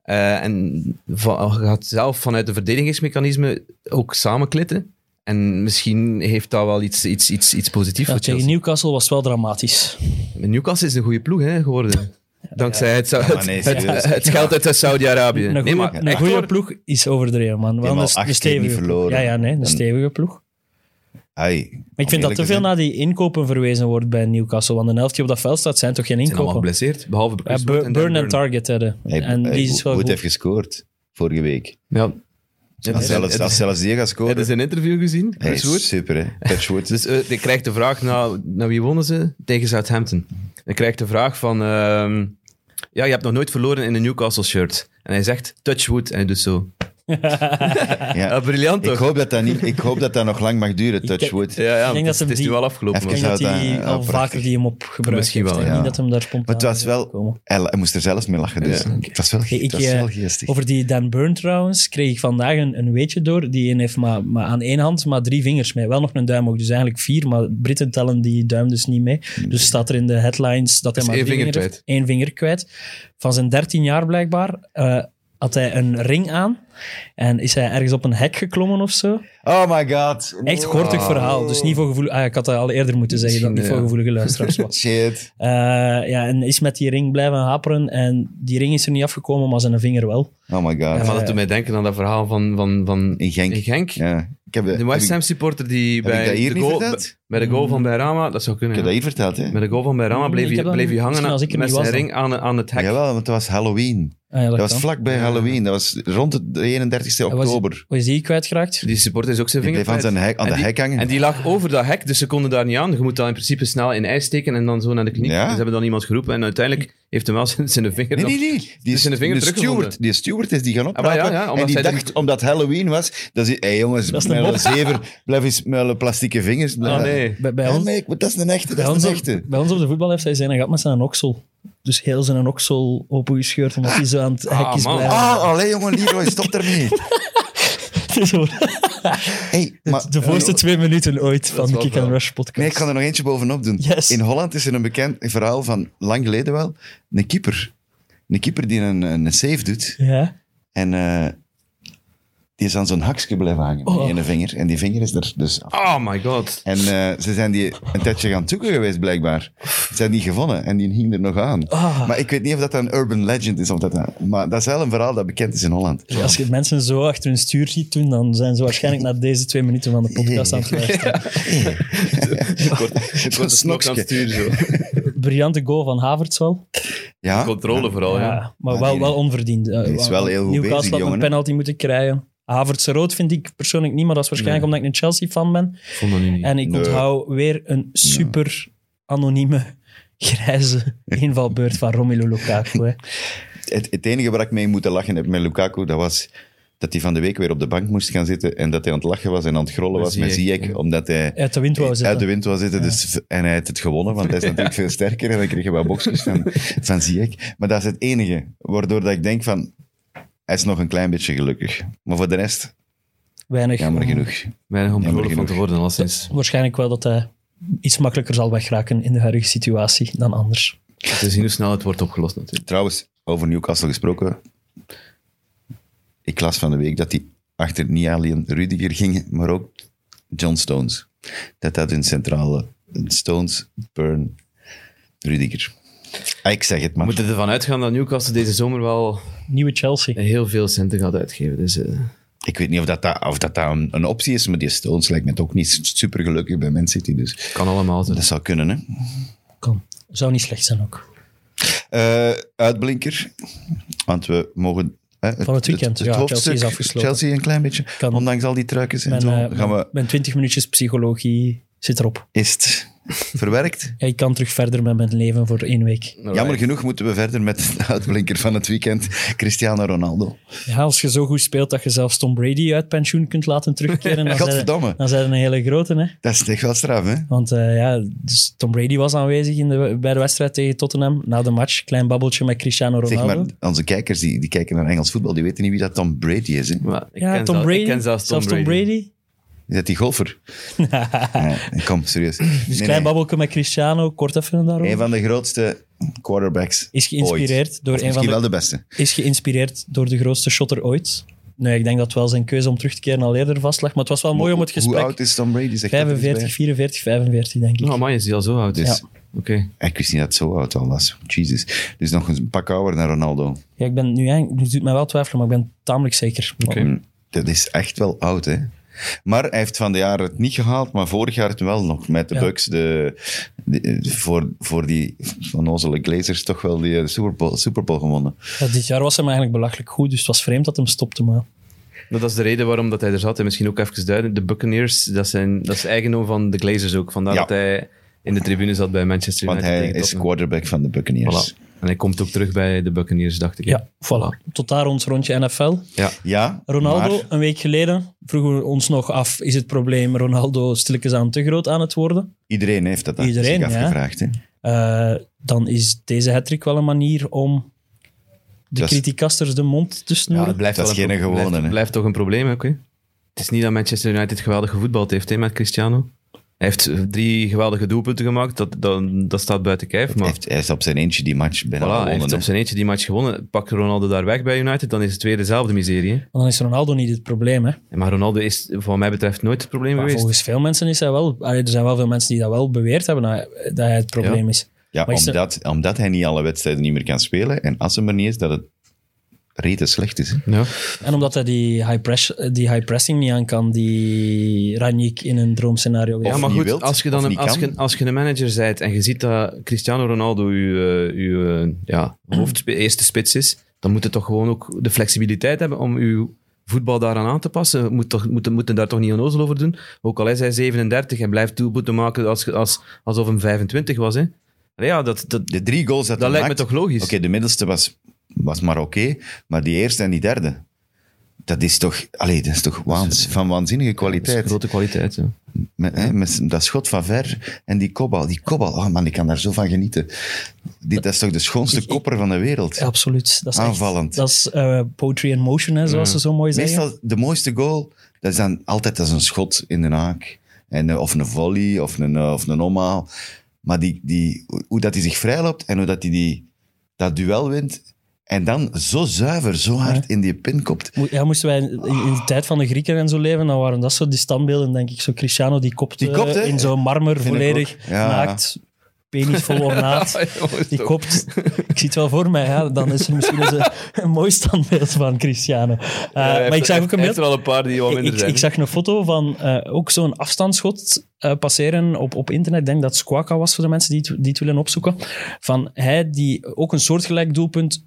S3: Eh, en va- gaat zelf vanuit de verdedigingsmechanismen ook samenklitten. En misschien heeft dat wel iets, iets, iets, iets positiefs
S4: ja,
S3: voor
S4: tegen
S3: Chelsea.
S4: Newcastle was het wel dramatisch.
S3: Newcastle is een goede ploeg hè, geworden. Dankzij het, zou-
S2: Ja, maar nee,
S3: het, het-
S2: serieus.
S3: het geld uit Saudi-Arabië.
S4: Een
S3: Nee, maar
S4: goede
S3: echt hoor.
S4: ploeg is overdreven, man. Wel
S2: al
S4: een,
S2: acht keer
S4: een stevige
S2: niet
S4: ploeg.
S2: verloren.
S4: Ja, ja, nee, een stevige ploeg.
S2: Ai,
S4: Maar ik
S2: om
S4: vind dat
S2: eerlijk
S4: te veel
S2: zijn.
S4: naar die inkopen verwezen wordt bij Newcastle. Want de helft die op dat veld staat, zijn toch geen
S3: Ze zijn allemaal
S4: inkopen?
S3: geblesseerd, behalve
S4: Ja,
S3: Chris Wood
S4: Bur-
S3: en Dan
S4: burn en
S3: Burn.
S4: target hebben.
S2: Hey,
S4: en
S2: hey,
S4: die is wel
S2: Wood
S4: goed.
S2: heeft gescoord vorige week.
S3: Ja.
S2: Als
S3: Het
S2: zelfs,
S3: is- dus-
S2: als zelfs die gaat
S3: het is
S2: scoren.
S3: een interview gezien,
S2: Hey,
S3: Chris Wood.
S2: super, hè? Patch Wood.
S3: Dus eh, ik krijg de vraag, nou, naar wie wonnen ze? Tegen Southampton. Ik krijg de vraag van, ehm, ja, je hebt nog nooit verloren in een Newcastle shirt. En hij zegt, touch wood, en hij doet zo.
S2: ja.
S3: Ah, briljant
S2: ik,
S3: toch?
S2: hoop dat dat niet, ik hoop dat dat nog lang mag duren,
S4: Ik-
S2: Touch Wood.
S3: Ja, ja,
S4: denk dat
S3: het,
S4: ze
S3: het is
S4: die-
S3: nu wel afgelopen.
S2: Even
S4: Ik denk
S2: zou
S4: dat
S2: dat-
S4: hij
S2: ja,
S4: al
S2: prachtig.
S4: vaker die hem op gebruikt
S3: Misschien
S4: heeft,
S3: wel,
S4: hè.
S2: ja.
S4: Niet dat hem daar spontaan
S2: Maar het was
S4: is
S2: wel...
S4: gekomen.
S2: Hij hij moest er zelfs mee lachen, dus. Het was wel, ge- het
S4: Ik,
S2: was wel
S4: eh,
S2: geestig.
S4: Over die Dan Burn trouwens, kreeg ik vandaag een, een weetje door. Die een heeft maar, maar aan één hand maar drie vingers mee. Wel nog een duim ook, dus eigenlijk vier. Maar Britten tellen die duim dus niet mee.
S2: Hmm.
S4: Dus staat er in de headlines dat hij
S3: is
S4: maar
S3: één
S4: drie
S3: vinger
S4: vingers heeft. Eén vinger kwijt. Van zijn 13 jaar blijkbaar eh, had hij een ring aan. En is hij ergens op een hek geklommen of zo.
S2: Oh my god. Oh,
S4: Echt gortig verhaal. Dus niet voor gevoel... Ah, ik had dat al eerder moeten zeggen, dat het niet
S3: Misschien,
S4: voor gevoelige luisteraars was.
S2: Shit.
S4: Eh, ja, en is met die ring blijven haperen. En die ring is er niet afgekomen, maar zijn vinger wel.
S2: Oh my god.
S3: Maar dat doet mij denken aan dat verhaal van, van, van
S2: In Genk.
S3: in Genk.
S2: Ja. Ik heb, eh,
S3: De
S2: heb
S3: West
S2: ik-
S3: Ham supporter die
S2: Heb ik dat
S3: bij
S2: hier
S3: de,
S2: niet
S3: goal,
S2: verteld?
S3: bij- bij de goal van Bijrama, dat zou
S2: Ik
S3: kunnen.
S2: heb dat hier verteld, hè?
S3: Met de goal van Bijrama
S4: Nee,
S3: bleef
S4: Mm, ik
S3: hij
S4: heb dat
S3: bleef hij
S4: niet-
S3: hangen
S4: misschien als ik er
S3: met
S4: niet
S3: zijn
S4: was dan.
S3: ring aan, aan het hek.
S2: Jawel, want het was Halloween.
S4: Ah, ja, dat
S2: Dat
S4: kan.
S2: was vlak bij Halloween. Dat was rond de 31ste
S4: was-
S2: oktober.
S4: Hoe is die kwijtgeraakt?
S3: Die supporter is ook zijn
S2: Die
S3: vinger
S2: bleef aan,
S3: kwijt.
S2: zijn hek, aan
S3: En
S2: de
S3: die-
S2: hek hangen.
S3: En die lag over dat hek, dus ze konden daar niet aan. Je moet dat in principe snel in ijs steken en dan zo naar de kliniek.
S2: Ja.
S3: Dus ze hebben dan iemand geroepen en uiteindelijk heeft hem wel zijn, zijn vinger
S2: Nee,
S3: nog-
S2: nee, nee. Die,
S3: Dus in de vinger teruggevonden.
S2: steward, die steward is die gaan
S3: Ah, maar
S2: oprapen.
S3: ja, ja,
S2: en
S3: omdat
S2: die
S3: zij
S2: dacht, omdat Halloween was, dat ze... Hé jongens,
S4: Dat
S2: met
S4: is een
S2: een
S4: mop.
S2: zever, blijf eens met hun plastieke vingers.
S3: Ah, nee.
S4: Bij, bij
S2: Ja,
S4: ons,
S2: nee, ik- maar dat is een echte,
S4: bij,
S2: dat
S4: ons
S2: is een
S4: op,
S2: echte.
S4: bij ons op de voetbal heeft hij zijn gat met zijn oksel. Dus heel zijn oksel opengescheurd, omdat hij zo aan het hek is
S3: man.
S4: blijven.
S2: Ah, allee jongen, Leroy, stop ermee.
S4: Zo,
S2: Hey, maar, eh,
S4: de voorste twee minuten ooit van
S3: is
S4: de
S3: wel
S4: Kick and
S3: wel.
S4: Rush podcast.
S2: Nee, ik kan er nog eentje bovenop doen.
S4: Yes.
S2: In Holland is er een bekend verhaal van, lang geleden wel, een keeper. Een keeper die een, een save doet.
S4: Ja,
S2: En eh, Die is aan zo'n haksje blijven hangen
S4: Oh.
S2: met die ene vinger. En die vinger is er dus af.
S3: Oh my god.
S2: En eh, ze zijn die een tijdje gaan zoeken geweest, blijkbaar. Ze zijn die gevonden en die hing er nog aan.
S3: Ah.
S2: Maar ik weet niet of dat een urban legend is. Of dat, nou- maar dat is wel een verhaal dat bekend is in Holland.
S4: Dus Als je mensen zo achter hun stuur ziet doen, dan zijn ze waarschijnlijk na deze twee minuten van de podcast aan het luisteren.
S3: Het
S2: Dat
S3: was snok aan het
S2: snokje.
S3: sturen zo.
S4: Briljante goal van Havertz wel.
S2: Ja?
S3: Controle vooral, ja.
S4: Ja, maar
S2: Oh Ja,
S4: wel,
S2: die-
S4: wel onverdiend. Eh,
S2: die is wel heel goed
S4: Newcastle
S2: bezig,
S4: had
S2: jongen,
S4: een
S2: hè?
S4: penalty moeten krijgen. Havertz rood vind ik persoonlijk niet, maar dat is waarschijnlijk omdat ik een Chelsea-fan ben.
S3: Ik vond dat nu niet.
S4: En ik
S2: Nee.
S4: onthoud weer een super anonieme grijze invalbeurt van Romelu Lukaku. Hè.
S2: Het, het enige waar ik mee moeten lachen heb met Lukaku, dat was dat hij van de week weer op de bank moest gaan zitten en dat hij aan het lachen was en aan het grollen was met
S3: Ziyech,
S2: Ziyech, omdat hij...
S4: Uit de wind wou
S2: Uit de
S4: zitten.
S2: wind wou zitten. Dus, en hij had het gewonnen, want hij is natuurlijk veel sterker. En dan kreeg je wat boxjes van, van Ziyech. Maar dat is het enige waardoor dat ik denk van... Hij is nog een klein beetje gelukkig. Maar voor de rest,
S4: Weinig.
S2: jammer genoeg.
S3: Weinig om
S2: Jammer
S3: vrolijk van te
S2: genoeg.
S3: worden, al sinds.
S4: Waarschijnlijk wel dat hij iets makkelijker zal wegraken in de huidige situatie dan anders.
S3: Te zien hoe snel het wordt opgelost natuurlijk.
S2: Trouwens, over Newcastle gesproken. Ik las van de week dat die achter niet alleen Rudiger gingen, maar ook John Stones. Dat dat hun centrale... Stones, Burn, Rudiger. Ah, ik zeg het
S3: We
S2: maar.
S3: moeten ervan uitgaan dat Newcastle deze zomer wel
S4: Nieuwe Chelsea.
S3: heel veel centen gaat uitgeven. Dus, eh,
S2: Ik weet niet of dat, dat, of dat, dat een, een optie is, maar die Stones lijkt me toch niet super gelukkig bij Man City. Dus
S3: kan allemaal zijn.
S2: dat zou kunnen, hè?
S4: Kom, zou niet slecht zijn ook.
S2: Eh, uitblinker. Want we mogen. hè,
S4: Van het weekend, ja,
S2: hoofdstuk,
S4: Chelsea is afgesloten.
S2: Chelsea een klein beetje.
S4: Kan-
S2: Ondanks al die truikens en
S4: Mijn,
S2: zo.
S4: eh,
S2: gaan we,
S4: mijn 20 minuutjes psychologie zit erop.
S2: is het verwerkt?
S4: Ja, Ik kan terug verder met mijn leven voor één week.
S2: Jammer genoeg moeten we verder met de uitblinker van het weekend, Cristiano Ronaldo.
S4: Ja, als je zo goed speelt dat je zelfs Tom Brady uit pensioen kunt laten terugkeren, dan zijn
S2: Godverdomme.
S4: dan zijn een hele grote. Hè?
S2: Dat is echt wel straf, hè?
S4: Want eh, ja, dus Tom Brady was aanwezig in de, bij de wedstrijd tegen Tottenham. Na de match, klein babbeltje met Cristiano
S2: Zeg
S4: Ronaldo.
S2: maar, onze kijkers die, die kijken naar Engels voetbal, die weten niet wie dat Tom Brady is. Hè?
S3: Maar ik,
S4: ja,
S3: ken
S4: Tom
S3: zelf-
S4: Brady.
S3: ik ken zelfs Tom Brady.
S2: Is dat die golfer? Eh, kom, serieus.
S4: Dus klein babbeltje met Cristiano, kort even daarover.
S2: Een van de grootste quarterbacks.
S4: Is geïnspireerd
S2: ooit.
S4: door
S2: Of
S4: een
S2: Misschien
S4: van de-
S2: wel de beste.
S4: Is geïnspireerd door de grootste shotter ooit. Nee, ik denk dat wel zijn keuze om terug te keren al eerder vastlag. Maar het was wel mooi om het
S2: Hoe- Hoe oud
S4: gesprek.
S2: is Tom Brady? Zeg dat Nou. er eens
S4: 45, 44, 45, denk ik.
S3: Oh man, is hij al zo oud?
S2: Dus-
S3: Oké.
S2: bij. Ik wist niet dat het zo oud al was. Jezus. Dus nog eens een pak ouder naar Ronaldo.
S4: Ja, ik ben nu eigenlijk, het doet mij wel twijfelen, maar ik ben tamelijk zeker.
S2: Mm, Dat is echt wel oud, hè? Maar hij heeft van de jaren het niet gehaald, maar vorig jaar het wel nog. Met de
S4: Ja.
S2: Bucks, de, de- voor, voor die onnozele Glazers, toch wel die eh, Super Bowl, Super Bowl gewonnen.
S4: Ja, dit jaar was hem eigenlijk belachelijk goed, dus het was vreemd dat hem stopte. Maar
S3: Nou, dat is de reden waarom dat hij er zat. En misschien ook even duiden. De Buccaneers, dat, zijn, dat is eigendom van de Glazers ook. Vandaar
S2: Ja.
S3: dat hij in de tribune zat bij Manchester
S2: Want
S3: United.
S2: hij is
S3: tegen Tottenham.
S2: quarterback van de Buccaneers.
S3: Voilà. En hij komt ook terug bij de Buccaneers, dacht ik.
S4: ja, voilà. Tot daar ons rondje NFL.
S2: Ja,
S4: Ronaldo,
S2: maar-
S4: een week geleden vroegen we ons nog af, is het probleem Ronaldo stilletjes aan te groot aan het worden?
S2: Iedereen heeft dat aan
S4: Iedereen,
S2: zich
S4: ja.
S2: afgevraagd. Hè?
S4: Eh, dan is deze hattrick wel een manier om de
S2: Dat is-
S4: criticasters de mond te
S3: Ja,
S4: snoeren.
S3: het blijft
S2: Dat
S3: wel
S2: is
S3: een
S2: geen
S3: pro-
S2: gewone,
S3: blijft,
S2: hè.
S3: blijft toch een probleem ook. hè. Het is niet dat Manchester United geweldig gevoetbald heeft hè, met Cristiano. Hij heeft drie geweldige doelpunten gemaakt. Dat, dat, dat staat buiten kijf. Maar
S2: Hij, heeft, hij is op zijn eentje die match
S3: voilà,
S2: bijna
S3: hij
S2: gewonnen.
S3: heeft op
S2: hè.
S3: zijn eentje die match gewonnen. Pakt Ronaldo daar weg bij United, dan is het weer dezelfde miserie. hè.
S4: Dan is Ronaldo niet het probleem. Hè?
S3: En Maar Ronaldo is, wat mij betreft, nooit het probleem
S4: Maar
S3: geweest.
S4: volgens veel mensen is hij wel... allee, er zijn wel veel mensen die dat wel beweerd hebben, dat dat hij het probleem is.
S2: Ja,
S4: Maar is er-
S2: omdat, omdat hij niet alle wedstrijden niet meer kan spelen. En als hem er niet is, dat het rete slecht is. hè.
S3: Ja.
S4: En omdat hij die high, press, die high pressing niet aan kan, die Ranjik in een droomscenario
S3: Ja,
S4: heeft.
S3: maar
S2: niet
S3: goed,
S2: wilt,
S3: als je dan
S2: of
S3: een,
S2: niet
S3: als
S2: kan.
S3: je, als je een manager bent en je ziet dat Cristiano Ronaldo je, eh, ja, hoofd, eerste spits is, dan moet je toch gewoon ook de flexibiliteit hebben om je voetbal daaraan aan te passen. Je Moet toch, moet, moet je daar toch niet onnozel over doen? Ook al is hij 37 en blijft doelpunten maken als, je- als, alsof hij 25 was. Hè? Allee, Ja, dat, dat,
S2: De drie goals dat
S3: dat
S2: hij
S3: lijkt me
S2: maakt-
S3: toch logisch?
S2: Oké, de middelste was, was maar oké. maar die eerste en die derde... Dat is toch, allee, dat is toch waans, van waanzinnige
S3: Dat is
S2: kwaliteit.
S3: grote kwaliteit. Ja.
S2: Met, hè, met dat schot van ver en die kopbal. Die kopbal, oh man, ik kan daar zo van genieten. Dit, dat is toch de schoonste kopper van de wereld.
S4: Ja, absoluut. Dat is echt-
S2: Aanvallend. Mm.
S4: dat is eh, poetry in motion, hè, zoals ze zo mooi zeggen.
S2: Meestal de mooiste goal, dat is dan altijd als een schot in de haak. En, eh, of een volley, of een, eh, of een omhaal. Maar die, die, hoe- hoe dat hij zich vrijloopt en hoe dat hij die, dat duel wint. En dan zo zuiver, zo hard in die pin kopt.
S4: Moe- Ja, moesten wij in, in
S2: Ah.
S4: de tijd van de Grieken en zo leven, dan waren dat zo die standbeelden, denk ik. Zo Cristiano, die kopte,
S2: Die kopt, hè?
S4: in zo'n marmer,
S2: ik
S4: volledig
S2: ook. Ja.
S4: naakt, penis vol ornaat. Die kopt. Ik zie het wel voor mij, ja. dan is er misschien eens een, een mooi standbeeld van Cristiano. Eh, maar ik zag ook een beeld.
S3: er al een paar die wat
S4: Ik,
S3: minder
S4: ik,
S3: zijn.
S4: ik zag een foto van eh, ook zo'n afstandsschot eh, passeren op, op internet. Ik denk dat het Squawka was voor de mensen die het, die het willen opzoeken. Van hij die ook een soortgelijk doelpunt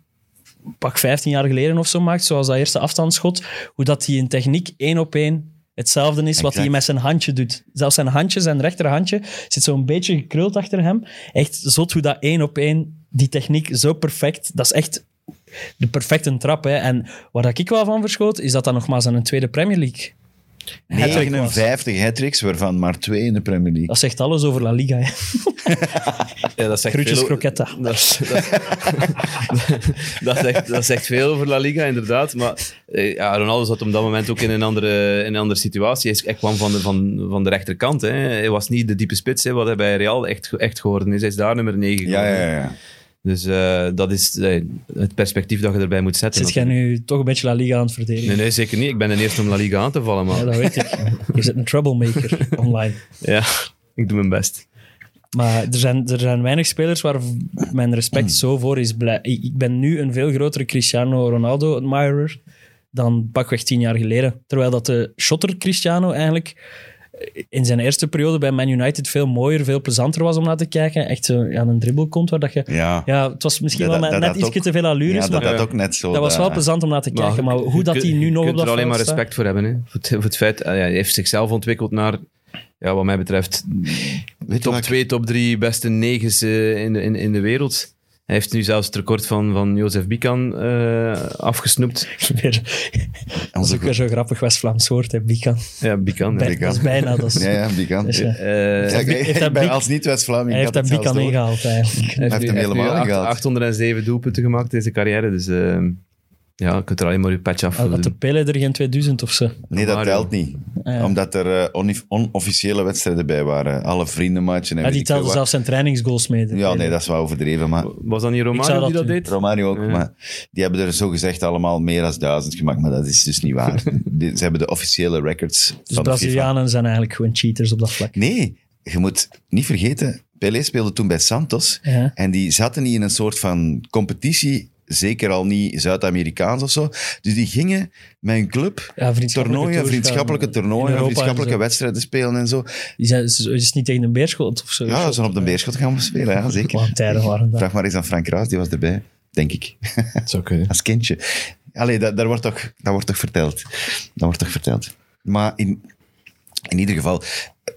S4: pak 15 jaar geleden of zo maakt, zoals dat eerste afstandsschot. Hoe dat hij in techniek één op één hetzelfde is wat
S2: Exact.
S4: hij met zijn handje doet. Zelfs zijn handje, zijn rechterhandje, zit zo'n beetje gekruld achter hem. Echt zot hoe dat één op één, die techniek zo perfect, dat is echt de perfecte trap. Hè. En waar dat ik wel van verschoot, is dat dat nogmaals aan een tweede Premier League. Hattrick was.
S2: 59 hat waarvan maar twee in de Premier League.
S4: Dat zegt alles over La Liga. Hè.
S3: Ja, dat zegt
S4: Groetjes
S3: veel-
S4: Croquetta.
S3: Dat, dat, dat, zegt, dat zegt veel over La Liga, inderdaad. Maar eh, ja, Ronaldo zat op dat moment ook in een andere, in een andere situatie. Hij- Hij kwam van de, van, van de rechterkant. Hè. Hij was niet de diepe spits, hè, wat hij bij Real echt, ge- echt geworden is. Hij is daar nummer 9
S2: Ja,
S3: geworden.
S2: ja, ja.
S3: Dus eh, dat is eh, het perspectief dat je erbij moet zetten.
S4: Zit jij nu toch een beetje La Liga aan het verdedigen?
S3: Nee, nee, zeker niet. Ik ben de eerste om La Liga aan te vallen, maar
S4: Ja, dat weet ik. Je zit een troublemaker online.
S3: ja, ik doe mijn best.
S4: Maar er zijn, er zijn weinig spelers waar v- mijn respect zo voor is. blij- Ik ik ben nu een veel grotere Cristiano Ronaldo-admirer dan pakweg tien jaar geleden. Terwijl dat de shotter Cristiano eigenlijk eh, in zijn eerste periode bij Man United veel mooier, veel plezanter was om naar te kijken. Echt zo, ja, een dribbel komt waar dat je...
S2: ja.
S4: Ja, het was misschien
S2: Ja,
S4: wel
S2: dat-
S4: net,
S2: dat-
S4: net
S2: dat
S4: ietsje
S2: ook-
S4: te veel allure,
S2: Ja,
S4: is, maar eh,
S2: dat,
S4: dat,
S2: dat ook net zo. eh,
S4: was wel plezant om naar te kijken. Maar, hoe dat hij nu nog op
S3: Je
S4: dat
S3: kunt er alleen maar
S4: veld staat-
S3: respect voor hebben. Hè. Voor, het, voor het feit, eh, ja, hij heeft zichzelf ontwikkeld naar, ja, wat mij betreft,
S2: Weet je
S3: top
S2: wat ik-
S3: 2, top 3 beste negens eh, in, de- in, in de wereld. Hij heeft nu zelfs het record van, van Jozef Bican eh, afgesnoept.
S4: Weer, dat is
S2: Onze
S4: ook weer zo'n grappig West-Vlaams woord, hè, Bican.
S3: Ja, Bican. ja.
S4: Bij- Dat is bijna, dat is...
S2: Ja, ja, die kan.
S4: Dus, ja.
S3: Eh,
S2: Ja, ik-
S4: Heeft
S2: ik
S4: dat
S2: ben
S4: Biek-
S2: als niet-West-Vlaming.
S4: Hij heeft dat Bican
S2: ingehaald.
S4: ingehaald, eigenlijk.
S3: Hij
S2: heeft
S3: nu-
S2: hem
S3: nu
S2: helemaal
S3: acht-
S2: gehaald.
S3: 807 doelpunten gemaakt in zijn carrière. Dus eh, ja, je kunt er alleen maar je patch af voor
S4: Had Ah, de
S3: doen.
S4: Pele er geen 2000 of zo?
S2: Nee, dat
S3: Mario.
S2: telt niet.
S4: Ah, ja.
S2: Omdat er eh, onif- onofficiële wedstrijden bij waren. Alle vriendenmatchen en weet
S4: Ja, Ah, die
S2: ik veel
S4: telde
S2: wat.
S4: zelfs zijn trainingsgoals mee. de
S2: Ja,
S4: Pele.
S2: nee, dat is wel overdreven. Maar
S3: Was dat niet
S4: Ik zou
S3: Romario die
S4: dat
S3: dat
S4: doen.
S3: deed?
S2: Romario ook. Maar die hebben er zogezegd allemaal meer dan duizend gemaakt. Maar dat is dus niet waar. Die- Ze hebben de officiële records
S4: Dus
S2: van de FIFA.
S4: Brazilianen zijn eigenlijk gewoon cheaters op dat vlak.
S2: Nee, je moet niet vergeten, Pelé speelde toen bij Santos.
S4: Ja.
S2: En die zaten niet in een soort van competitie, zeker al niet Zuid-Amerikaans of zo. Dus die gingen met hun club
S4: Ja, vriendschappelijke
S2: toernooien,
S4: tours
S2: vriendschappelijke
S4: gaan eh, in
S2: toernooien,
S4: Europa en
S2: vriendschappelijke
S4: zo.
S2: wedstrijden spelen en zo.
S4: Die zijn, is, is niet tegen een beerschot of zo.
S2: Ja, ze zijn op de beerschot gaan we spelen, ja,
S4: Wat
S2: zeker.
S4: een tijden waren dat.
S2: Vraag maar eens aan Frank Raas, die was erbij, denk ik,
S3: zou kunnen.
S2: als kindje. Allee, dat, daar wordt toch, dat wordt toch verteld. Dat wordt toch verteld. Maar in, in ieder geval,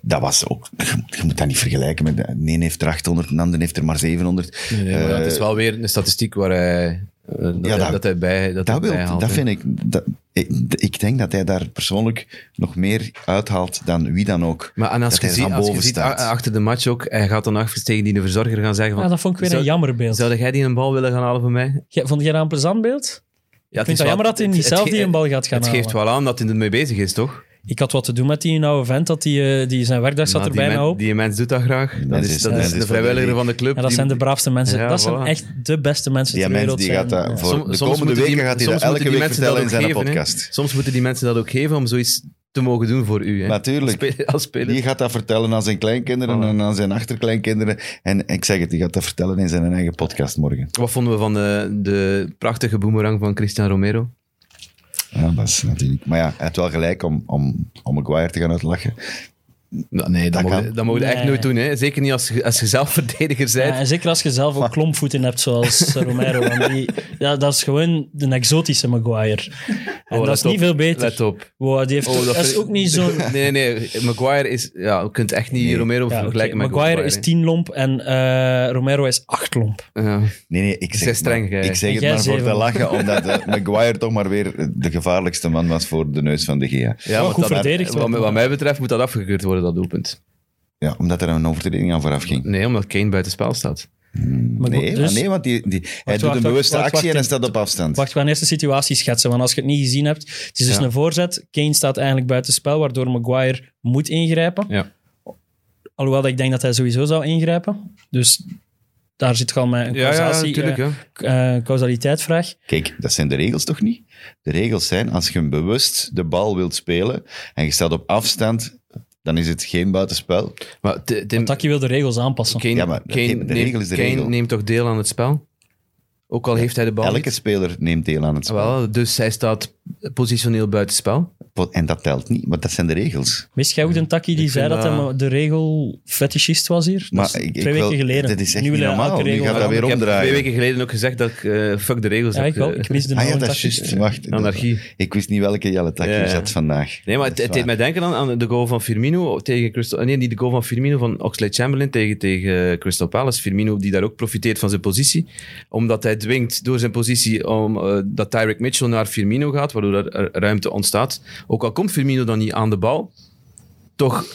S2: dat was ook... Je, je moet dat niet vergelijken met... De een heeft er 800, de ander heeft er maar 700.
S3: Nee, nee, maar dat
S2: Eh,
S3: is wel weer een statistiek waar hij, eh, dat,
S2: Ja,
S3: hij-
S2: dat-
S3: dat hij bij dat,
S2: Dat,
S3: hij
S2: wil,
S3: bijhaalt,
S2: dat
S3: hè.
S2: vind ik, dat- ik. Ik denk dat hij daar persoonlijk nog meer uithaalt dan wie dan ook.
S3: Maar en als
S2: dat
S3: je,
S2: hij
S3: ziet,
S2: van
S3: als je
S2: boven
S3: ziet
S2: staat.
S3: a- achter de match ook, hij gaat dan af tegen die de verzorger gaan zeggen van,
S4: Ja, dat vond ik weer een
S3: zou-
S4: jammer beeld.
S3: Zou jij die een bal willen gaan halen voor mij? Ja, het
S4: Jij- Vond jij dat een plezant beeld?
S3: is
S4: vind het
S3: wel-
S4: jammer dat hij niet
S3: het- het
S4: zelf
S3: ge-
S4: die een bal gaat gaan
S3: Het geeft
S4: halen.
S3: wel aan dat hij ermee bezig is, toch?
S4: Ik had wat te doen met die oude vent, dat die, eh, die zijn werkdag zat
S2: Nou,
S3: Maar
S4: er bijna
S3: Nou, die, men-
S4: op.
S3: die mens doet dat graag. Dat
S2: mens
S3: is,
S2: is-
S3: dat
S2: mens is
S3: is de
S2: voor de
S3: vrijwilliger
S2: league.
S3: van de club.
S4: En dat
S3: die-
S4: zijn de braafste mensen.
S3: Ja,
S4: dat zijn
S3: voilà.
S4: echt de beste mensen
S2: Die
S4: ter
S2: mens
S4: wereld.
S2: die
S4: zijn,
S2: gaat eh, dat
S4: ja.
S2: voor
S3: Som-
S2: de
S3: soms
S2: komende
S3: moeten die-
S2: weken gaat hij
S3: soms
S2: dat
S3: moeten
S2: elke
S3: die
S2: week
S3: mensen
S2: vertellen in
S3: dat ook
S2: zijn
S3: geven, hè.
S2: podcast.
S3: Soms moeten die mensen dat ook geven om zoiets te mogen doen voor u. Hè?
S2: Natuurlijk.
S3: Als spe- Als speler.
S2: Die gaat dat vertellen aan zijn kleinkinderen en aan zijn achterkleinkinderen. En ik zeg het, die gaat dat vertellen in zijn eigen podcast morgen.
S3: Wat vonden we van de, de prachtige boemerang van Christian Romero?
S2: Ja, dat is natuurlijk. Maar ja, hij heeft wel gelijk om, om, om Maguire te gaan uitlachen.
S3: Nou, nee, dat,
S2: Dat
S3: mogen-
S2: kan.
S3: dat mogen we echt
S4: Nee.
S3: nooit doen. Hè? Zeker niet als, je- als je zelf verdediger
S4: Ja,
S3: bent.
S4: en zeker als je zelf ook klompvoeten hebt, zoals Romero. Want die, ja, dat is gewoon de exotische Maguire. En
S3: Oh,
S4: dat
S3: let
S4: is niet
S3: op.
S4: veel beter.
S3: Let op.
S4: Wow, die heeft
S3: Oh,
S4: ook- dat, is
S3: vind-
S4: ook niet zo'n...
S3: Nee, nee, Maguire is... Ja, je kunt echt niet Romero
S4: Ja, oké,
S3: vergelijken met
S4: Maguire is
S3: hè.
S4: 10 lomp en eh, Romero is 8 lomp.
S3: Ja.
S2: Nee, nee, ik zeg,
S3: Zij streng,
S2: maar,
S3: jij.
S2: ik zeg het
S4: Jij
S2: maar voor
S4: zeven.
S2: te lachen, omdat eh, Maguire toch maar weer de gevaarlijkste man was voor de neus van de Gea.
S3: Ja, want
S4: Oh, goed
S3: dat-
S4: verdedigd
S3: Wat,
S4: wel.
S3: wat mij betreft moet dat afgekeurd worden, dat doelpunt.
S2: Ja, omdat er een overtreding aan vooraf ging.
S3: Nee, omdat Kane buitenspel staat.
S4: Maar
S2: Nee,
S4: goed,
S2: maar
S4: dus-
S2: nee want die, die, hij doet
S4: wacht,
S2: een
S4: wacht,
S2: bewuste
S4: wacht,
S2: actie
S4: wacht,
S2: en hij
S4: ik-
S2: staat op afstand.
S4: Wacht, we gaan eerst de situatie schetsen, want als je het niet gezien hebt, het is dus
S3: Ja.
S4: een voorzet. Kane staat eigenlijk buiten spel, waardoor Maguire moet ingrijpen.
S3: Ja.
S4: Alhoewel dat ik denk dat hij sowieso zou ingrijpen. Dus daar zit gewoon met een
S3: Ja, ja,
S4: causatie,
S3: natuurlijk.
S4: eh,
S3: ja.
S4: k- eh, causaliteitsvraag.
S2: Kijk, dat zijn de regels toch niet? De regels zijn, als je hem bewust de bal wilt spelen en je staat op afstand, dan is het geen buitenspel.
S3: Maar Ti- Tim,
S4: Taki wil de regels aanpassen.
S3: Kane,
S2: Ja, maar dat
S3: Kane
S2: geeft- de regel
S3: neemt,
S2: is de
S3: Kane
S2: regel.
S3: neemt toch deel aan het spel? Ook al heeft hij de bal
S2: Elke
S3: niet.
S2: speler neemt deel aan het spel.
S3: Wel, dus hij staat positioneel buitenspel.
S2: Po- En dat telt niet, want dat zijn de regels.
S4: Wist jij ook een Taki die
S3: Ik
S4: zei
S3: vind
S4: dat
S3: dat-
S4: hij de regel fetischist was hier? Dat is
S2: ik- ik
S4: twee
S2: wil-
S4: weken geleden.
S2: dit is echt
S4: nu wil
S2: niet
S4: hij
S2: normaal.
S4: elke
S2: Nu
S4: regel
S2: gaat dat
S4: veranderen.
S2: weer
S3: ik heb
S2: omdraaien.
S3: twee weken geleden ook gezegd dat ik eh, fuck de regels
S4: Ja,
S3: heb.
S4: ik wel.
S3: eh,
S4: Ik mis de
S2: Ah ja,
S4: naam
S2: dat
S4: van
S2: is
S4: Taki.
S2: juist. Wacht.
S3: Anarchie.
S2: Ik wist niet welke Jelle Taki
S3: Ja, ja.
S2: zat vandaag.
S3: Nee, maar
S2: Dat
S3: het,
S2: is
S3: het deed
S2: waar.
S3: mij denken aan, aan de goal van Firmino tegen Crystal... eh, Nee, niet de goal van Firmino, van Oxlade-Chamberlain tegen, tegen Crystal Palace. Firmino die daar ook profiteert van zijn positie. Omdat hij dwingt door zijn positie om, eh, dat Tyrick Mitchell naar Firmino gaat, waardoor er er ruimte ontstaat. Ook al komt Firmino dan niet aan de bal, toch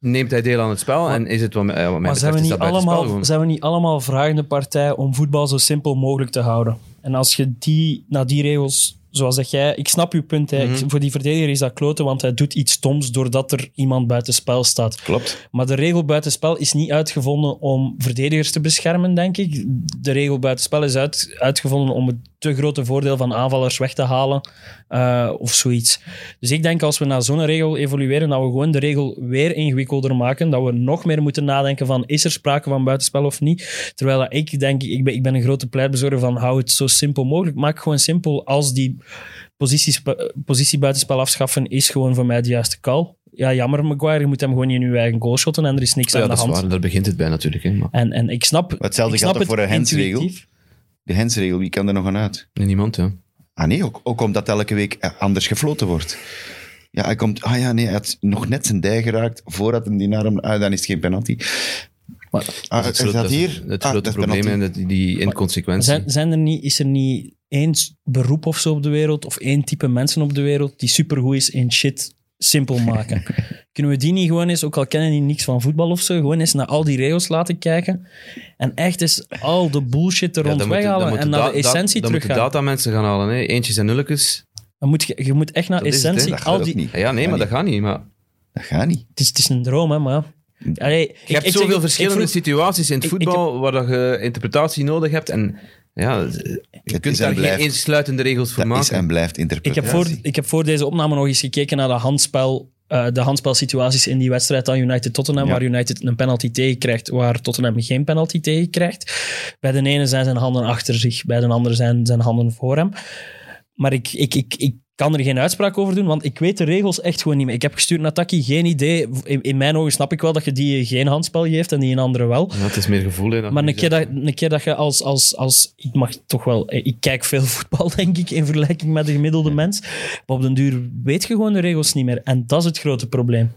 S3: neemt hij deel aan het spel en is het wat, mij- eh, wat mij
S4: Maar zijn we,
S3: betreft
S4: niet
S3: is dat buitenspel
S4: allemaal,
S3: gewoon.
S4: zijn we niet allemaal vragende partij om voetbal zo simpel mogelijk te houden? En als je die, naar die regels, zoals dat jij... Ik snap je punt, hè. Ik-
S2: Mhm.
S4: voor die verdediger is dat kloten, want hij doet iets stoms doordat er iemand buitenspel staat.
S2: Klopt.
S4: Maar de regel buitenspel is niet uitgevonden om verdedigers te beschermen, denk ik. De regel buitenspel is uit, uitgevonden om het te grote voordeel van aanvallers weg te halen eh, of zoiets. Dus ik denk als we naar zo'n regel evolueren, dat we gewoon de regel weer ingewikkelder maken. Dat we nog meer moeten nadenken van is er sprake van buitenspel of niet. Terwijl dat ik denk, ik ben, ik ben een grote pleitbezorger van hou het zo simpel mogelijk. Maak gewoon simpel als die posities, positie buitenspel afschaffen is gewoon voor mij de juiste call. Ja, jammer Maguire, je moet hem gewoon in je eigen goal shotten en er is niks
S3: Ja,
S4: aan de
S3: dat is
S4: hand.
S3: waar. Daar begint het bij natuurlijk. Hè. Maar,
S4: En, en ik snap...
S2: Hetzelfde geldt
S4: ik snap
S2: ook
S4: het
S2: voor een handsregel.
S4: intuïtief.
S2: De hensregel, wie kan er nog aan uit?
S3: nee, niemand, ja.
S2: Ah nee, ook, ook omdat elke week eh, anders gefloten wordt. Ja, hij komt... Ah ja, nee, hij had nog net zijn dij geraakt voordat hem die naar hem... Ah, dan is het geen penalty. Ah,
S3: het
S2: is
S3: grote-
S2: dat hier?
S3: Het
S2: Ah,
S3: grote
S2: dat is
S3: probleem en
S2: penalty.
S3: dat- die inconsequentie.
S4: Zijn, zijn er niet, is er niet één s- beroep of zo op de wereld, of één type mensen op de wereld, die supergoed is in shit simpel maken? Kunnen we die niet gewoon eens, ook al kennen die niks van voetbal of zo, gewoon eens naar al die regels laten kijken en echt eens al de bullshit er
S3: Ja,
S4: rond
S3: dan moet je- dan
S4: weghalen
S3: moet
S4: en naar de
S3: da-
S4: essentie
S3: dan
S4: teruggaan?
S3: moeten data mensen gaan halen, hè. eentjes en nulletjes.
S4: Dan moet je, je moet echt naar
S3: Dat is het, hè.
S4: essentie...
S2: Dat gaat
S4: al
S2: ook
S4: die,
S2: niet.
S3: Ja, nee, maar dat gaat niet. Maar
S2: Dat gaat niet.
S4: Het is, het is een droom, hè, maar... ja. Allee, ik-
S3: je hebt
S4: ik zeg-
S3: zoveel
S4: ik
S3: verschillende
S4: vroeg-
S3: situaties in het
S4: ik- ik
S3: voetbal waar dat je interpretatie nodig hebt. En ja, je
S2: is
S3: kunt daar
S2: en
S3: geen
S2: blijft.
S3: eensluitende regels voor
S2: Dat is
S3: maken.
S2: en blijft
S4: Ik heb,
S2: interpretatie.
S4: voor, ik heb voor deze opname nog eens gekeken naar de handspel. eh, de handspelsituaties in die wedstrijd aan United-Tottenham,
S2: Ja.
S4: waar United een penalty tegen krijgt, waar Tottenham geen penalty tegen krijgt. Bij de ene zijn zijn handen achter zich, bij de andere zijn zijn handen voor hem. Maar ik, ik, ik, ik kan er geen uitspraak over doen, want ik weet de regels echt gewoon niet meer. Ik heb gestuurd naar Taki, geen idee. In, in mijn ogen snap ik wel dat je die geen handspel geeft en die een andere wel.
S3: Ja, het is meer gevoel. Hè,
S4: Maar een keer, dat, een keer dat je als, als, als... Ik mag toch wel... Ik kijk veel voetbal, denk ik, in vergelijking met de gemiddelde mens. Maar op den duur weet je gewoon de regels niet meer. En dat is het grote probleem.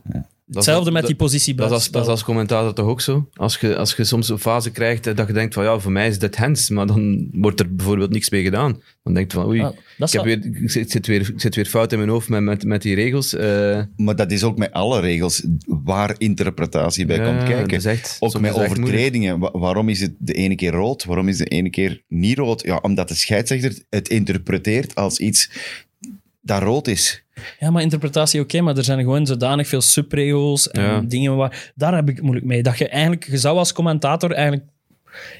S4: Hetzelfde met die positie
S3: Dat is, als, dat is als commentator toch ook zo? Als je, als je soms een fase krijgt eh, dat je denkt van ja, voor mij is dit hands, maar dan wordt er bijvoorbeeld niks mee gedaan. Dan denk je van oei,
S4: Ah, dat
S3: ik, heb
S4: zou-
S3: weer, ik, zit, ik zit weer, ik zit weer fout in mijn hoofd met, met, met die regels. eh,
S2: Maar dat is ook met alle regels waar interpretatie bij
S3: Ja,
S2: komt kijken.
S3: dat is echt-
S2: ook
S3: soms
S2: met
S3: is dat echt
S2: overtredingen. Wa- waarom is het de ene keer rood? Waarom is de ene keer niet rood? Ja, omdat de scheidsrechter het interpreteert als iets dat rood is.
S4: Ja, maar interpretatie oké, maar er zijn gewoon zodanig veel subregels en
S3: Ja.
S4: dingen waar... Daar heb ik het moeilijk mee. Dat je eigenlijk... Je zou als commentator eigenlijk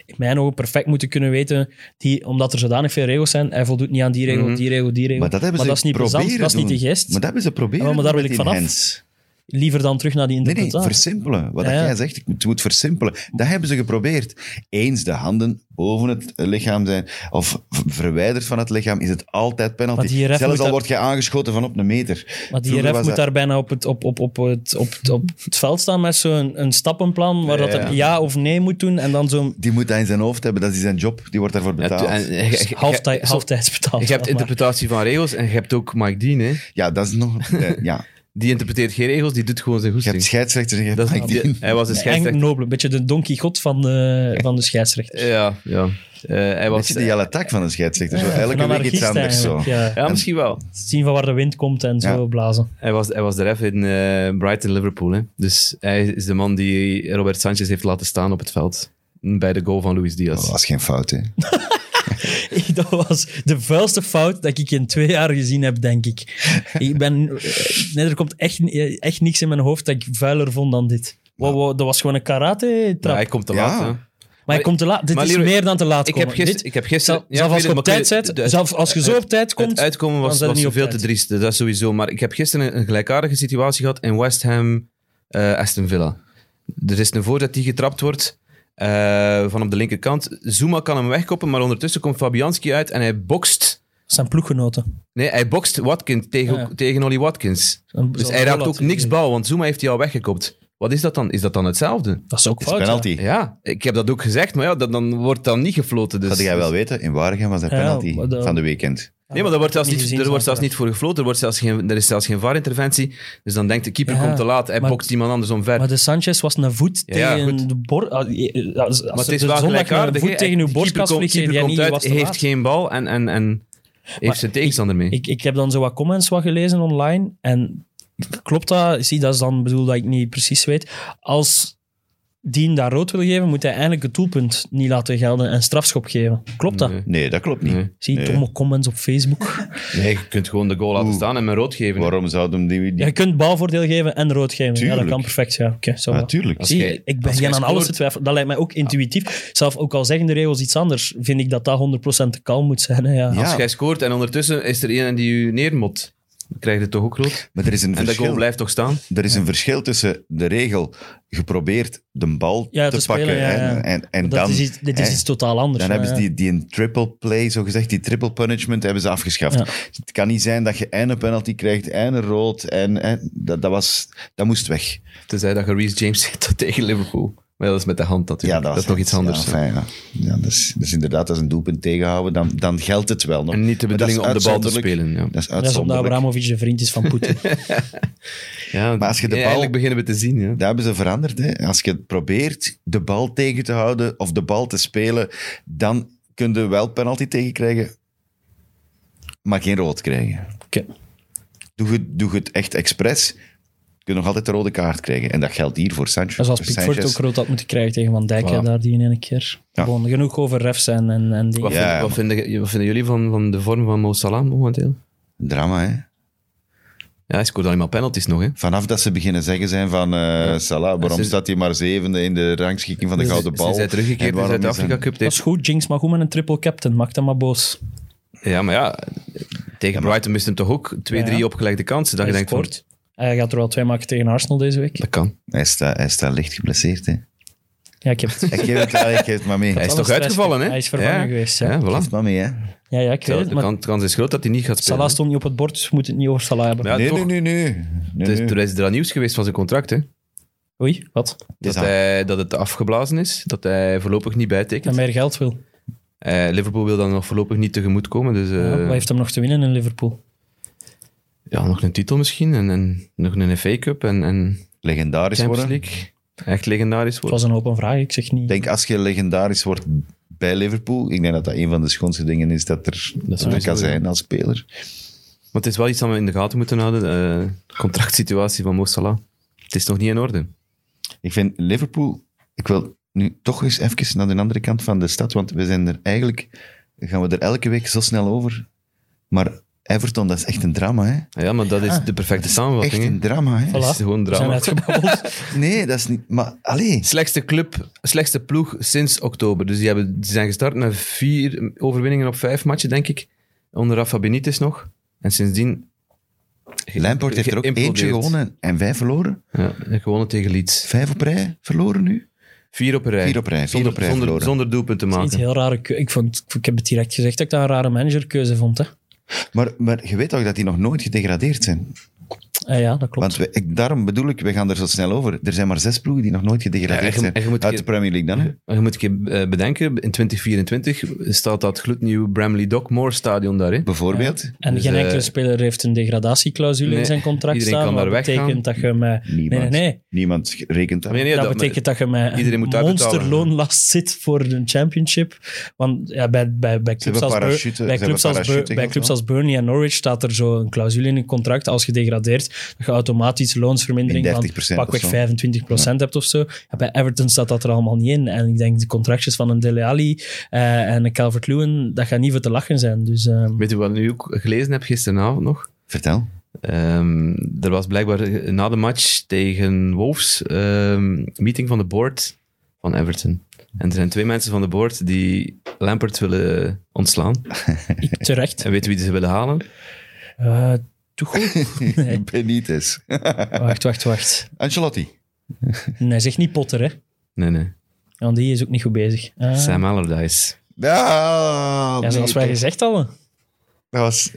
S4: in mijn ogen perfect moeten kunnen weten, die, omdat er zodanig veel regels zijn, hij voldoet niet aan die regel,
S3: Mhm.
S4: die regel, die regel.
S2: Maar dat hebben ze
S4: dat is niet
S2: proberen
S4: plezant, dat is niet
S2: doen.
S4: de gest.
S2: Maar dat hebben ze proberen.
S4: Ja, maar daar
S2: doen
S4: wil
S2: met die
S4: ik vanaf.
S2: hands.
S4: Liever dan terug naar die
S2: Nee, nee,
S4: interpretatie.
S2: versimpelen. Wat
S4: Ja,
S2: dat
S4: ja.
S2: jij zegt, het moet- moet versimpelen. Dat hebben ze geprobeerd. Eens de handen boven het lichaam zijn, of v- verwijderd van het lichaam, is het altijd penalty.
S4: Maar die ref moet
S2: Zelfs al
S4: daar-
S2: wordt je aangeschoten van op een meter.
S4: Maar die
S2: Vroeger
S4: ref
S2: was
S4: moet
S2: dat-
S4: daar bijna op het, op, op, op, het, op, het- op het veld staan met zo'n een stappenplan waar dat er ja of nee moet doen en dan zo'n
S2: Die moet dat in zijn hoofd hebben, dat is zijn job. Die wordt daarvoor
S3: ja,
S2: betaald.
S3: en- en-
S4: Dus
S3: en-
S4: halftij-
S3: je-
S4: halftijds betaald.
S3: Je hebt
S4: zeg maar.
S3: interpretatie van regels en je hebt ook Mike Dean, hè.
S2: Ja, dat is nog... eh, ja.
S3: Die interpreteert geen regels, die doet gewoon zijn
S2: Je hebt
S3: goesting.
S2: scheidsrechter en je hebt
S3: Dat is,
S2: Mike Dean.
S3: die- hij was de
S4: Eigenlijk
S3: scheidsrechter.
S4: nobel, een beetje de donkey god van de, van de scheidsrechter.
S3: Ja, ja. Eh, hij
S2: Weet
S3: was,
S2: je, de jelle tak van een scheidsrechter. zo, elke
S4: Een
S2: week iets
S4: anarchist
S2: anders zo.
S4: eigenlijk, Ja.
S3: ja, misschien wel.
S4: Zien van waar de wind komt en zo
S2: Ja.
S4: blazen.
S3: Hij was, hij was de ref in eh, Brighton, Liverpool. Hè. Dus hij is de man die Robert Sanchez heeft laten staan op het veld. Bij de goal van Luis Diaz.
S2: Dat was geen fout, hè.
S4: Dat was de vuilste fout dat ik in twee jaar gezien heb, denk ik. Ik ben... eh, Nee, er komt echt, eh, echt niks in mijn hoofd dat ik vuiler vond dan dit. Wow, wow, dat was gewoon een karate-trap.
S3: Maar hij komt te
S2: Ja.
S3: laat. hè.
S4: Maar je komt te laat. Dit
S3: maar
S4: is
S3: Leroy,
S4: meer dan te laat
S3: Ik
S4: komen.
S3: heb gisteren...
S4: Dit-
S3: Ik heb gisteren
S4: zelf- zelf als
S3: ik
S4: je op
S3: weet
S4: tijd
S3: het, maar
S4: zit,
S3: ik weet- de-
S4: zelf als je zo op tijd
S3: Het
S4: komt...
S3: uitkomen
S4: dan
S3: was,
S4: zijn
S3: was
S4: die op
S3: veel te
S4: tijd.
S3: driest, dat is sowieso. Maar ik heb gisteren een gelijkaardige situatie gehad in West Ham, eh, Aston Villa. Er is een voorzet die getrapt wordt eh, van op de linkerkant. Zuma kan hem wegkoppen, maar ondertussen komt Fabianski uit en hij bokst...
S4: zijn ploeggenoten.
S3: Nee, hij bokst Watkins tegen,
S4: Ja.
S3: tegen Ollie Watkins.
S4: Zo'n-
S3: Dus
S4: zo'n
S3: hij raakt
S4: Pollat
S3: ook niks
S4: die-
S3: bal, want Zuma heeft hij al weggekopt. Wat is dat dan? Is dat dan hetzelfde?
S4: Dat is ook
S2: Het is
S4: fout.
S2: penalty.
S4: ja.
S3: Ja, ik heb dat ook gezegd, maar ja, dat, dan wordt dan niet gefloten. Dus,
S2: Dat jij wel weten, in Waregem was dat
S4: Ja,
S2: penalty
S4: maar dat-
S2: van de weekend.
S3: Nee, maar daar wordt zelfs
S4: Niet
S3: niet,
S4: gezien,
S3: er wordt
S4: snap
S3: zelfs
S4: ik.
S3: niet voor gefloten. Er, wordt zelfs geen, er is zelfs geen VAR-interventie. Dus dan denkt de keeper
S4: Ja,
S3: komt te laat. Hij
S4: maar-
S3: bokst iemand anders omver.
S4: Maar de Sanchez was een voet
S3: Ja, ja,
S4: tegen
S3: goed.
S4: de bord. Als, als
S3: Maar
S4: er zondag een voet tegen
S3: hè. De
S4: uw
S3: keeper
S4: borstkas
S3: komt-
S4: vliegt, zeg
S3: keeper
S4: jij
S3: komt
S4: niet,
S3: uit,
S4: je was te
S3: heeft
S4: laat.
S3: geen bal en, en, en heeft
S4: Maar
S3: zijn tegenstander mee.
S4: Ik, ik heb dan zo wat comments wat gelezen online. En klopt dat? Zie, dat is dan bedoel dat ik niet precies weet. Als die hem daar rood wil geven, moet hij eigenlijk het doelpunt niet laten gelden en strafschop geven. Klopt dat?
S3: Nee.
S2: Nee, dat klopt niet.
S3: Nee.
S4: Zie je
S2: Nee.
S4: domme comments op Facebook.
S3: Nee, je kunt gewoon de goal laten
S2: Oeh.
S3: staan en hem rood geven.
S2: Waarom zouden die...
S4: Ja,
S2: die...
S4: je kunt balvoordeel geven en rood geven. Ja,
S2: Tuurlijk.
S4: dat kan perfect. Ja, oké, zo wel.
S2: Natuurlijk.
S3: Als
S4: Zie,
S3: jij-
S4: ik
S3: als
S4: begin
S3: jij
S4: aan alles te
S3: scoort-
S4: twijfelen. Dat lijkt mij ook intuïtief. Zelf ook al zeggen de regels iets anders, vind ik dat dat 100% de kalm moet zijn. Hè, ja.
S2: Ja,
S3: Als jij scoort en ondertussen is er een die je neermot, dan krijg je het toch ook rood.
S2: maar er is een
S3: En dat goal
S2: verschil.
S3: blijft toch staan.
S2: Er is een verschil tussen de regel geprobeerd de bal
S4: Ja,
S2: te,
S4: te
S2: pakken
S4: spelen, ja, ja.
S2: en, en, en
S4: Dat
S2: dan...
S4: is iets, dit is
S2: hè,
S4: iets totaal anders.
S2: dan
S4: ja,
S2: hebben ze
S4: ja.
S2: die, die een triple play, zo gezegd, die triple punishment hebben ze afgeschaft.
S4: Ja.
S2: Het kan niet zijn dat je en een penalty krijgt, en een rood, en, en dat, dat, was, dat moest weg.
S3: Tenzij dat je Reece James zit tegen Liverpool. Maar ja, dat is met de hand
S2: Ja, dat,
S3: natuurlijk. dat
S2: was
S3: is toch iets anders.
S2: Ja, enfin, ja. Ja, dus, dus inderdaad, als een doelpunt tegenhouden, dan, dan geldt het wel nog.
S3: en niet de
S2: Maar dat is
S3: bedoeling om de bal te
S2: uitzonderlijk.
S3: spelen. Ja.
S2: Dat is
S4: Dat is omdat
S2: uitzonderlijk.
S4: Abramovic de vriend is van Poetin.
S3: Ja,
S2: Maar als je de
S3: ja,
S2: bal-
S3: Eigenlijk beginnen we te zien. Ja.
S2: Dat hebben ze veranderd. Hè. Als je probeert de bal tegen te houden of de bal te spelen, dan kun je wel penalty tegenkrijgen, maar geen rood krijgen.
S4: Oké.
S2: Doe je, doe je het echt expres, kun je nog altijd de rode kaart krijgen. En dat geldt hier voor Sancho-
S4: Dat is
S2: Sanchez.
S4: dus als Pickford ook rood had moeten krijgen tegen Van Dijk, hè,
S3: Voilà.
S4: daar die in één keer.
S2: Ja.
S4: Gewoon genoeg over refs en, en, en dingen.
S3: Wat,
S2: Ja,
S3: vind- wat, vinden, wat vinden jullie van, van de vorm van Mo Salah momenteel?
S2: Drama, hè.
S3: Ja, hij scoort alleen maar penalties nog, hè.
S2: Vanaf dat ze beginnen zeggen zijn van eh, Salah, waarom
S3: Sinds-
S2: staat hij maar zevende in de rangschikking van de Gouden Bal?
S3: Sinds hij teruggekeerd
S2: En
S3: is
S2: waarom
S3: uit de
S2: is hij-
S3: Afrika Cup.
S4: Dat is goed, Jinx, maar goed met een triple captain. Maak dat maar boos.
S3: Ja, maar ja, tegen Brighton mist hem toch ook twee,
S4: Ja, ja.
S3: drie opgelegde kansen. Dat
S4: Hij
S3: je denkt van,
S4: scoort. Hij gaat er wel twee maken tegen Arsenal deze week.
S3: dat kan.
S2: Hij staat, hij staat licht geblesseerd, hè.
S4: Ja, ik heb het.
S2: Ik geef het, ja, ik geef het maar mee.
S3: Hij
S2: Geef
S3: is
S4: was
S3: toch
S4: stress.
S3: uitgevallen, hè?
S4: Hij is vervangen
S3: Ja.
S4: geweest, ja.
S3: Ja, voilà.
S2: het maar mee, hè.
S4: Ja, ja, ik weet
S3: Terwijl
S4: het,
S3: De
S4: maar
S3: kans, kans is groot dat hij niet gaat spelen.
S4: Salah stond niet op het bord, dus we moeten het niet over Salah hebben.
S3: Ja,
S2: nee,
S3: toch.
S2: nee, nee, nee, nee.
S3: Het is-
S2: nee.
S3: Er is er aan nieuws geweest van zijn contract, hè.
S4: Oei, wat?
S3: Dat,
S2: dat-
S3: hij, dat het afgeblazen is, dat hij voorlopig niet
S4: Dat
S3: bijtekent.
S4: meer geld wil.
S3: Eh, Liverpool wil dan nog voorlopig niet tegemoetkomen, dus... eh,
S4: Ja, wat heeft hem nog te winnen in Liverpool?
S3: ja, nog een titel misschien en, en nog een FA Cup en, en
S2: legendarisch
S3: Champions
S2: worden.
S3: League. Echt legendarisch
S4: Het
S3: worden.
S4: was een open vraag, ik zeg niet.
S2: Ik denk als je legendarisch wordt bij Liverpool, ik denk dat dat een van de schoonste dingen is dat er dat
S3: sowieso,
S2: kan
S3: ja.
S2: zijn als speler.
S3: Maar het is wel iets dat we in de gaten moeten houden. eh, De contractsituatie van Mo Salah. Het is nog niet in orde.
S2: Ik vind Liverpool, ik wil nu toch eens even naar de andere kant van de stad, want we zijn er eigenlijk, gaan we er elke week zo snel over. Maar Everton, dat is echt een drama, hè?
S3: Ah, Ja, maar dat is de perfecte
S2: Echt
S3: samenvatting. hè.
S2: een drama, hè?
S3: Het is gewoon
S4: We zijn
S3: drama.
S4: uitgebabbeld.
S2: Nee, dat is niet... Maar, allee.
S3: Slechtste club, slechtste ploeg sinds oktober. Dus die, hebben, die zijn gestart met vier overwinningen op vijf matchen, denk ik. Onder Rafa Benitez nog. En sindsdien... ge-
S2: Lampard heeft er ook eentje
S3: geïmplodeerd.
S2: gewonnen en vijf verloren.
S3: Ja, gewonnen tegen Leeds.
S2: Vijf op rij verloren nu.
S3: Vier op een rij.
S2: Vier op rij, vier
S3: zonder,
S2: op rij
S3: zonder,
S2: verloren.
S3: zonder doelpunt te
S4: Niet
S3: maken.
S4: heel rare keu- ik, vond, ik heb het direct gezegd dat ik dat een rare managerkeuze vond. Hè.
S2: Maar, maar je weet ook dat die nog nooit gedegradeerd zijn.
S4: Eh, ja, dat klopt.
S2: Want we, ik, daarom bedoel ik, we gaan er zo snel over. Er zijn maar zes ploegen die nog nooit
S3: Ja,
S2: gedegradeerd
S3: en je-
S2: zijn.
S3: en je moet
S2: Uit
S3: je-
S2: de Premier League dan, hè?
S3: Maar Je moet je eh, bedenken, in 2024 staat dat gloednieuwe Bramley Dockmore stadion daarin.
S2: Bijvoorbeeld.
S4: En
S3: Dus,
S4: geen
S3: eh,
S4: enkele speler heeft een degradatieclausule
S3: nee,
S4: in zijn contract
S3: iedereen
S4: staan. wat
S3: kan daar weggaan.
S4: betekent dat je met... Nee, nee,
S2: Niemand.
S4: nee.
S2: Niemand rekent dat.
S3: Nee, nee,
S4: dat,
S3: dat-
S4: betekent dat je met
S3: Iedereen
S4: een
S3: moet uitbetalen.
S4: monsterloonlast zit voor een championship. Want ja, bij, bij, bij clubs,
S2: hebben
S4: als, Bur-
S2: parachute-
S4: bij
S2: ze
S4: clubs,
S2: hebben
S4: als, Bur-
S2: parachute
S4: bij
S2: geld,
S4: clubs
S2: hoor.
S4: als Burnley en Norwich staat er zo een clausule in een contract als je degradeert, dat je automatisch loonsvermindering
S2: In
S4: van
S2: 30%
S4: pakweg
S2: of zo.
S4: 25% hebt of zo. Ja, bij Everton staat dat er allemaal niet in. En ik denk de contractjes van een Dele Alli eh, en een Calvert-Lewin, dat gaat niet voor te lachen zijn. Dus ehm,
S3: Weet je wat ik nu ook gelezen heb gisteravond nog?
S2: Vertel.
S3: Ehm, er was blijkbaar eh, na de match tegen Wolves ehm meeting van de board van Everton. En er zijn twee mensen van de board die Lampert willen ontslaan.
S4: Ik terecht.
S3: En weten wie ze willen halen?
S4: Eh Tuchel? Nee.
S2: Benitez.
S4: Wacht, wacht, wacht.
S2: Ancelotti.
S4: Nee, zeg niet Potter, hè.
S3: Nee, nee.
S4: Want die is ook niet goed bezig. Ah.
S3: Sam Allardyce.
S2: Ja,
S4: Ja, zoals wij gezegd hadden.
S2: dat, was,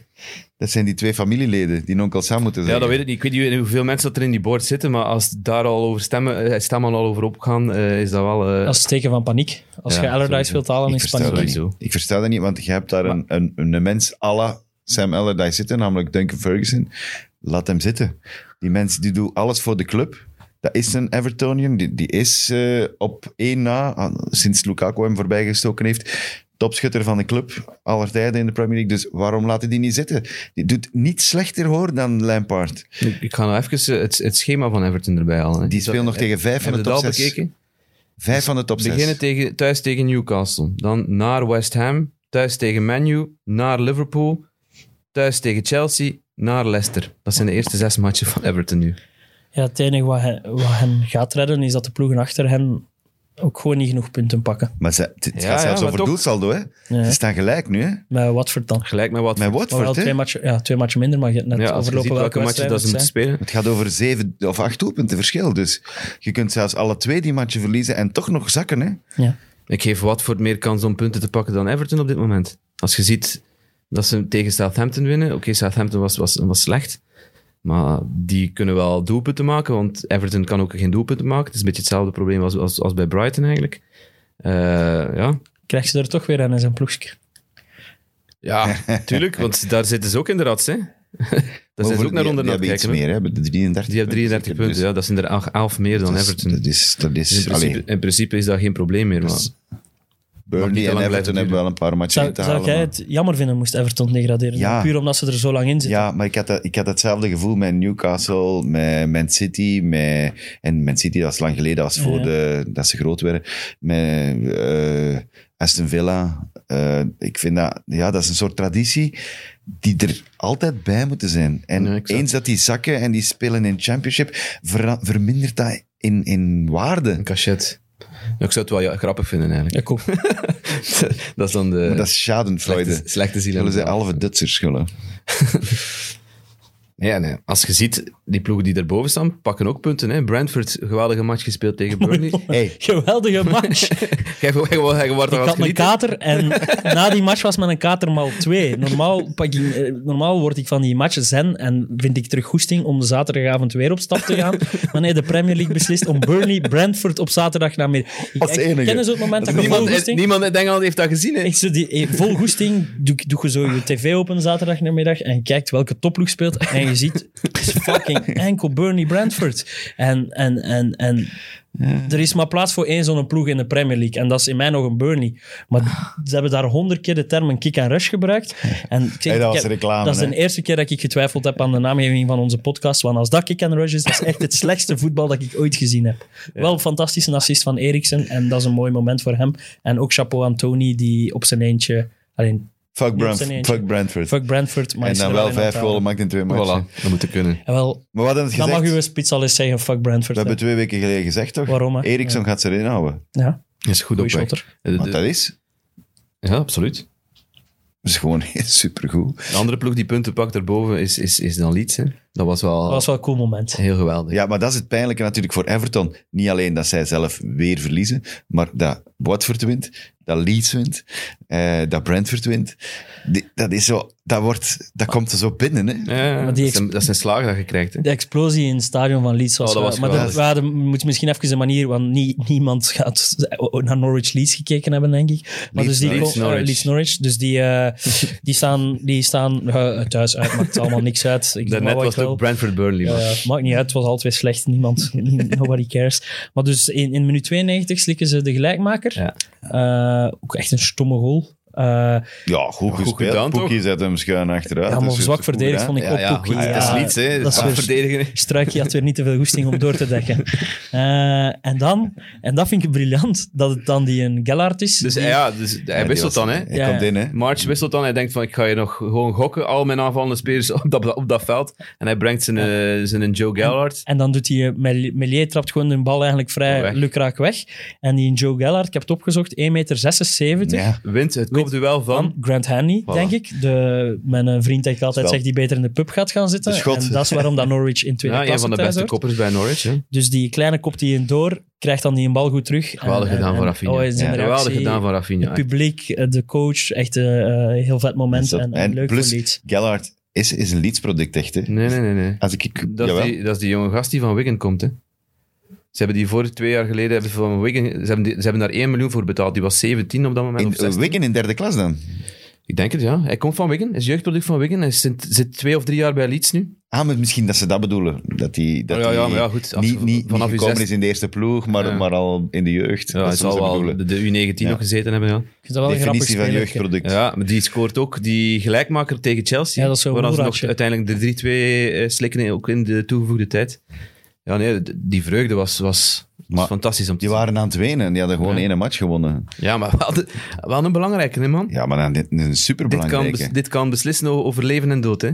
S2: dat zijn die twee familieleden die onkel Sam moeten zijn.
S3: Ja, dat weet ik niet. Ik weet niet hoeveel mensen dat er in die board zitten, maar als daar al over stemmen, eh, stemmen al over opgaan, eh, is dat wel... eh,
S4: Dat is het teken van paniek. Als
S3: Ja,
S4: je Allardyce
S3: sowieso.
S4: wilt halen,
S2: ik
S4: is het
S2: versta dat
S4: paniek.
S3: paniek.
S2: niet. Ik versta dat niet, want je hebt daar een, een, een mens à la Sam Allardyce zitten, namelijk Duncan Ferguson. Laat hem zitten. Die mens die doet alles voor de club. Dat is een Evertonian. Die, die is eh, op één na, ah, sinds Lukaku hem voorbijgestoken heeft, topschutter van de club aller tijden in de Premier League. Dus waarom laten die niet zitten? Die doet niet slechter hoor dan Lampard.
S3: ik, ik ga nou even eh, het, het schema van Everton erbij halen. hè.
S2: Die speelt nog tegen vijf van de
S3: Hebben we
S2: top
S3: het al
S2: zes.
S3: bekeken?
S2: Vijf van de top zes.
S3: Beginnen tegen, thuis tegen Newcastle. Dan naar West Ham. Thuis tegen Man U. Naar Liverpool. Thuis tegen Chelsea. Naar Leicester. Dat zijn de eerste zes matchen van Everton nu.
S4: Ja, het enige wat hen, wat hen gaat redden, is dat de ploegen achter hen ook gewoon niet genoeg punten pakken.
S2: Maar ze, het het
S3: Ja,
S2: gaat zelfs
S3: ja, maar
S2: over
S3: toch.
S2: doelsaldo. Hè?
S4: Ja.
S2: Ze staan gelijk nu. Hè?
S4: Maar wat voor dan?
S3: Gelijk met wat.
S2: Met
S4: Maar wel
S2: Watford. hè?
S4: twee matchen, ja, twee matchen minder, maar je hebt net
S3: ja, als je ziet
S4: overlopen
S3: welke
S4: welke
S3: matchen dat ze moeten
S4: wedstrijden
S3: spelen.
S2: Het gaat over zeven of acht doelpunten verschil. Dus je kunt zelfs alle twee die matchen verliezen en toch nog zakken. Hè?
S4: het zijn. Ja.
S3: Ik geef Watford meer kans om punten te pakken dan Everton op dit moment. Als je ziet dat ze tegen Southampton winnen. Oké, Southampton was, was, was slecht. Maar die kunnen wel doelpunten maken, want Everton kan ook geen doelpunten maken. Het is een beetje hetzelfde probleem als, als, als bij Brighton eigenlijk. Eh, ja.
S4: Krijgt ze er toch weer aan in zijn ploegje.
S3: ja, tuurlijk, want daar zitten ze ook in de rats. Hè? daar zijn ze ook naar
S2: die, die
S3: onder naar te
S2: hebben iets
S3: kijken. hoor.
S2: meer. Hè? hebben 33
S3: Die hebben 33 punten, ja, dat zijn er 11 meer dan Everton.
S2: dus- Dat is, dat is,
S3: in, principe,
S2: allee,
S3: in principe is dat geen probleem meer. Maar niet te
S2: Burnley
S3: lang
S2: en
S3: blijven
S2: Everton hebben
S3: duren.
S2: wel een paar matchen
S4: Zou,
S2: in te
S4: zou
S2: halen.
S4: jij
S2: maar-
S4: het jammer vinden moest Everton degraderen?
S2: Ja.
S4: Puur omdat ze er zo lang in zitten.
S2: Ja, maar ik had, dat, ik had hetzelfde gevoel met Newcastle, met Man City. Met, en Man City, dat is lang geleden, als voor
S4: Ja.
S2: de, dat ze groot werden. Met eh, Aston Villa. Eh, ik vind dat, ja, dat is een soort traditie die er altijd bij moeten zijn. En
S3: Ja, exact.
S2: eens dat die zakken en die spelen in Championship, vera- vermindert dat in, in waarde.
S3: een cachet. Ja, ik zou het wel ja, grappig vinden eigenlijk.
S4: Ik ook.
S3: dat is dan de
S2: Maar dat is schadenfreude.
S3: slechte, slechte ziel.
S2: Zullen ze
S3: aan de
S2: halve Duitsers schullen?
S3: zaal. Ja, nee. Als je ziet, die ploegen die daarboven staan, pakken ook punten. Hè. Brentford, geweldige match gespeeld tegen Burnley.
S2: Hey,
S4: Geweldige match.
S3: Jij wordt er wat
S4: Ik had een
S3: genieten.
S4: kater en na die match was mijn kater maal twee. Normaal, pak ik, eh, normaal word ik van die matchen zen en vind ik terug goesting om zaterdagavond weer op stap te gaan. Maar nee, de Premier League beslist om Burnley Brentford op zaterdag naar midden. Ik,
S2: Als
S4: ik
S2: enige.
S4: ken zo'n moment dat ik vol
S3: Niemand, in-
S4: goesting...
S3: niemand in Engeland heeft dat gezien. Hè.
S4: Echt zo die, eh, vol goesting doe, doe je zo je tv open zaterdag namiddag en je kijkt welke topploeg speelt en je ziet het is fucking enkel Burnley Brentford. En, en, en, en er is maar plaats voor één zo'n ploeg in de Premier League en dat is in mij nog een Burnley. Maar ze hebben daar honderd keer de termen kick en rush gebruikt. En ik zeg,
S2: Hey, dat
S4: ik
S2: was
S4: heb-
S2: reclame,
S4: Dat is de
S2: hè?
S4: eerste keer dat ik getwijfeld heb aan de naamgeving van onze podcast, want als dat kick and rush is, dat is echt het slechtste voetbal dat ik ooit gezien heb. Wel fantastisch een assist van Eriksen en dat is een mooi moment voor hem. En ook chapeau aan Tony, die op zijn eentje... Alleen,
S2: fuck, Brand,
S4: zijn eentje.
S2: fuck Brentford.
S4: fuck Brentford, maar
S2: en
S4: is er
S2: dan wel
S4: in
S2: vijf
S4: aan het
S2: goals maakt in twee matchen.
S3: Voilà, dat moet kunnen.
S4: halen. En wel,
S2: Maar wat hadden we
S4: dan
S2: gezegd?
S4: mag uw spits al eens zeggen, fuck Brentford.
S2: We hebben twee weken geleden gezegd, toch?
S4: Waarom, hè?
S2: Eriksson gaat ze erin houden.
S4: hè. Ja,
S3: Dat is goed
S4: goeie
S3: op Eh,
S4: shotter.
S2: Want dat is,
S3: Ja, absoluut.
S2: is gewoon supergoed.
S3: De andere ploeg die punten pakt daarboven is, is, is dan Leeds. Hè. Dat was wel,
S4: Dat was wel een cool moment.
S3: heel geweldig.
S2: Ja, maar dat is het pijnlijke natuurlijk voor Everton. Niet alleen dat zij zelf weer verliezen, maar dat Watford wint, dat Leeds wint, eh, dat Brentford wint. Die- dat is zo, dat, wordt, dat komt er zo binnen, hè?
S3: Ja, ja,
S4: Maar die
S3: dat,
S4: ex-
S3: zijn, dat zijn slagen dat je krijgt. Hè.
S4: De explosie in het stadion van Leeds was,
S3: Oh, dat was
S4: wel- maar dat,
S3: geweldig.
S4: we hadden, we moeten misschien even een manier, want nie- niemand gaat naar Norwich Leeds gekeken hebben, denk ik. Maar
S2: Leeds-
S4: dus die
S3: Leeds-
S4: eh,
S3: Norwich.
S4: Leeds Norwich. Dus die, eh, die staan, die staan eh, thuis uit, maakt allemaal niks uit. Ik doe maar
S3: Daarnet
S4: wat
S3: was
S4: ik
S3: het
S4: wil.
S3: ook Brentford-Burnley.
S4: Ja,
S3: maar-
S4: ja, het maakt niet uit, het was altijd weer slecht. Niemand, nobody cares. Maar dus in, in minuut 92 slikken ze de gelijkmaker.
S3: Ja.
S4: Eh, ook echt een stomme goal. Eh,
S2: Ja, goed
S3: gedaan,
S2: gespeeld.
S3: toch?
S2: Poekie zet hem schuin achteruit.
S4: Ja, maar
S2: dus
S4: zwak
S2: is goed,
S4: verdedigd
S2: hè?
S4: vond ik
S2: ja,
S4: ook eh,
S2: ja,
S4: Poekie.
S2: goed,
S3: Het is
S4: Ja,
S3: niets, hè. Het
S4: dat
S3: is
S4: is weer-
S3: verdedigen.
S4: Struikje had weer niet te veel goesting om door te dekken. Eh, en dan, en dat vind ik briljant, dat het dan die een Gellard is.
S3: Dus
S4: die-
S3: ja, dus hij
S2: Ja, die
S3: wisselt
S2: was-
S3: dan, hè.
S2: Hij
S4: Ja.
S2: komt in, hè.
S3: March wisselt dan. Hij denkt van, ik ga je nog gewoon gokken. Al mijn aanvallende spelers op dat, op dat veld. En hij brengt zijn, eh, zijn Joe Gallard.
S4: En dan doet hij, eh, Mel- Melier trapt gewoon de bal eigenlijk vrij
S3: Weg.
S4: lukraak weg. En die Joe Gellard, ik heb het opgezocht, 1,76 meter
S2: Ja.
S3: Wint het kopduel
S4: van
S3: van...
S4: Grant Hanley,
S3: Voilà.
S4: denk ik. De, mijn eh, vriend dat ik altijd
S2: Wel.
S4: zeg, die beter in de pub gaat gaan
S2: De
S4: zitten.
S2: schot.
S4: En dat is waarom dat Norwich in tweede
S3: Ja, een
S4: klasse
S3: van de
S4: thuis
S3: beste
S4: hoort.
S3: koppers bij Norwich. Hè.
S4: Dus die kleine kopt die in door, krijgt dan die een bal goed terug. En-
S3: Geweldig
S4: en-
S3: gedaan
S4: en-
S3: van Rafinha.
S4: Oh, hij is in
S2: Ja.
S4: de
S3: Geweldig
S4: reactie.
S3: gedaan van Rafinha.
S4: Het publiek, eh, de coach, echt een heel vet moment.
S2: Is dat-
S4: en, en
S2: en
S4: leuk
S2: plus-
S4: voor Leeds.
S2: Gellard is, is een Leeds-product, echt, hè.
S3: Nee, nee, nee. nee.
S2: Als ik... ik
S3: Dat, is
S2: jawel.
S3: die, dat is die jonge gast die van Wigan komt, hè. Ze hebben die voor twee jaar geleden hebben ze van Wigan, ze hebben, die- ze hebben daar 1 miljoen voor betaald. Die was 17 op dat moment. of
S2: In,
S3: 16.
S2: Wigan in derde klas dan?
S3: Ik denk het, ja. Hij komt van Wigan, is jeugdproduct van Wigan. Hij zit, zit twee of drie jaar bij Leeds nu.
S2: Ah, maar misschien dat ze dat bedoelen. Dat die, dat
S3: Oh, ja, ja,
S2: die
S3: maar ja, goed, als-
S2: niet, niet,
S3: vanaf
S2: vanaf
S3: uw
S2: niet gekomen
S3: zes-
S2: is in de eerste ploeg, maar,
S3: Ja.
S2: maar al in de jeugd.
S3: Ja, hij
S2: dat
S3: zal
S2: zal
S3: wel
S2: bedoelen.
S3: de, de U19
S2: Ja.
S3: nog gezeten hebben, ja.
S4: Ik vind dat wel een grappig
S2: Definitie van
S4: speler.
S2: jeugdproduct.
S3: Ja, maar die scoort ook die gelijkmaker tegen Chelsea.
S4: Ja, dat is zo'n
S3: waarna ze nog
S4: roeraadje.
S3: uiteindelijk de 3-2 eh, slikken, eh, ook in de toegevoegde tijd. Ja, nee, d- die vreugde was, was, was
S2: Maar
S3: fantastisch om te
S2: Die waren aan het wenen en die hadden gewoon
S3: Ja.
S2: één match gewonnen.
S3: zien. Ja, maar wel, de- wel een belangrijke, hè, man.
S2: Ja, maar dan, dit is een
S3: Dit kan,
S2: superbelangrijke.
S3: bes- dit kan beslissen o- over leven en dood, hè.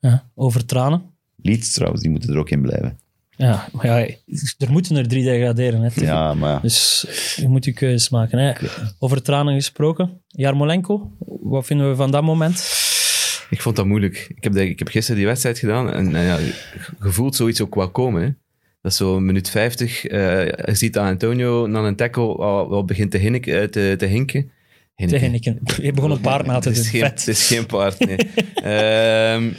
S4: Ja, over tranen.
S2: Leeds trouwens, die moeten er ook in blijven.
S4: Ja, maar ja, er moeten er drie degraderen. Hè,
S2: Ja, maar...
S4: Dus je moet je keuzes maken. Hè. Over tranen gesproken. Jarmolenko, wat vinden we van dat moment?
S3: Ik vond dat moeilijk. Ik heb, denk ik ik heb gisteren die wedstrijd gedaan en nou ja, gevoeld zoiets ook wel komen. Hè. Dat is zo minuut 50. eh, je ziet aan Antonio na een tackle al, al begint te, hinnik, eh, te, te hinken. Hinniken.
S4: Tegen ik. Je begon een paard na te
S3: Het
S4: doen.
S3: is geen,
S4: Vet.
S3: het is geen paard, nee. Ehm,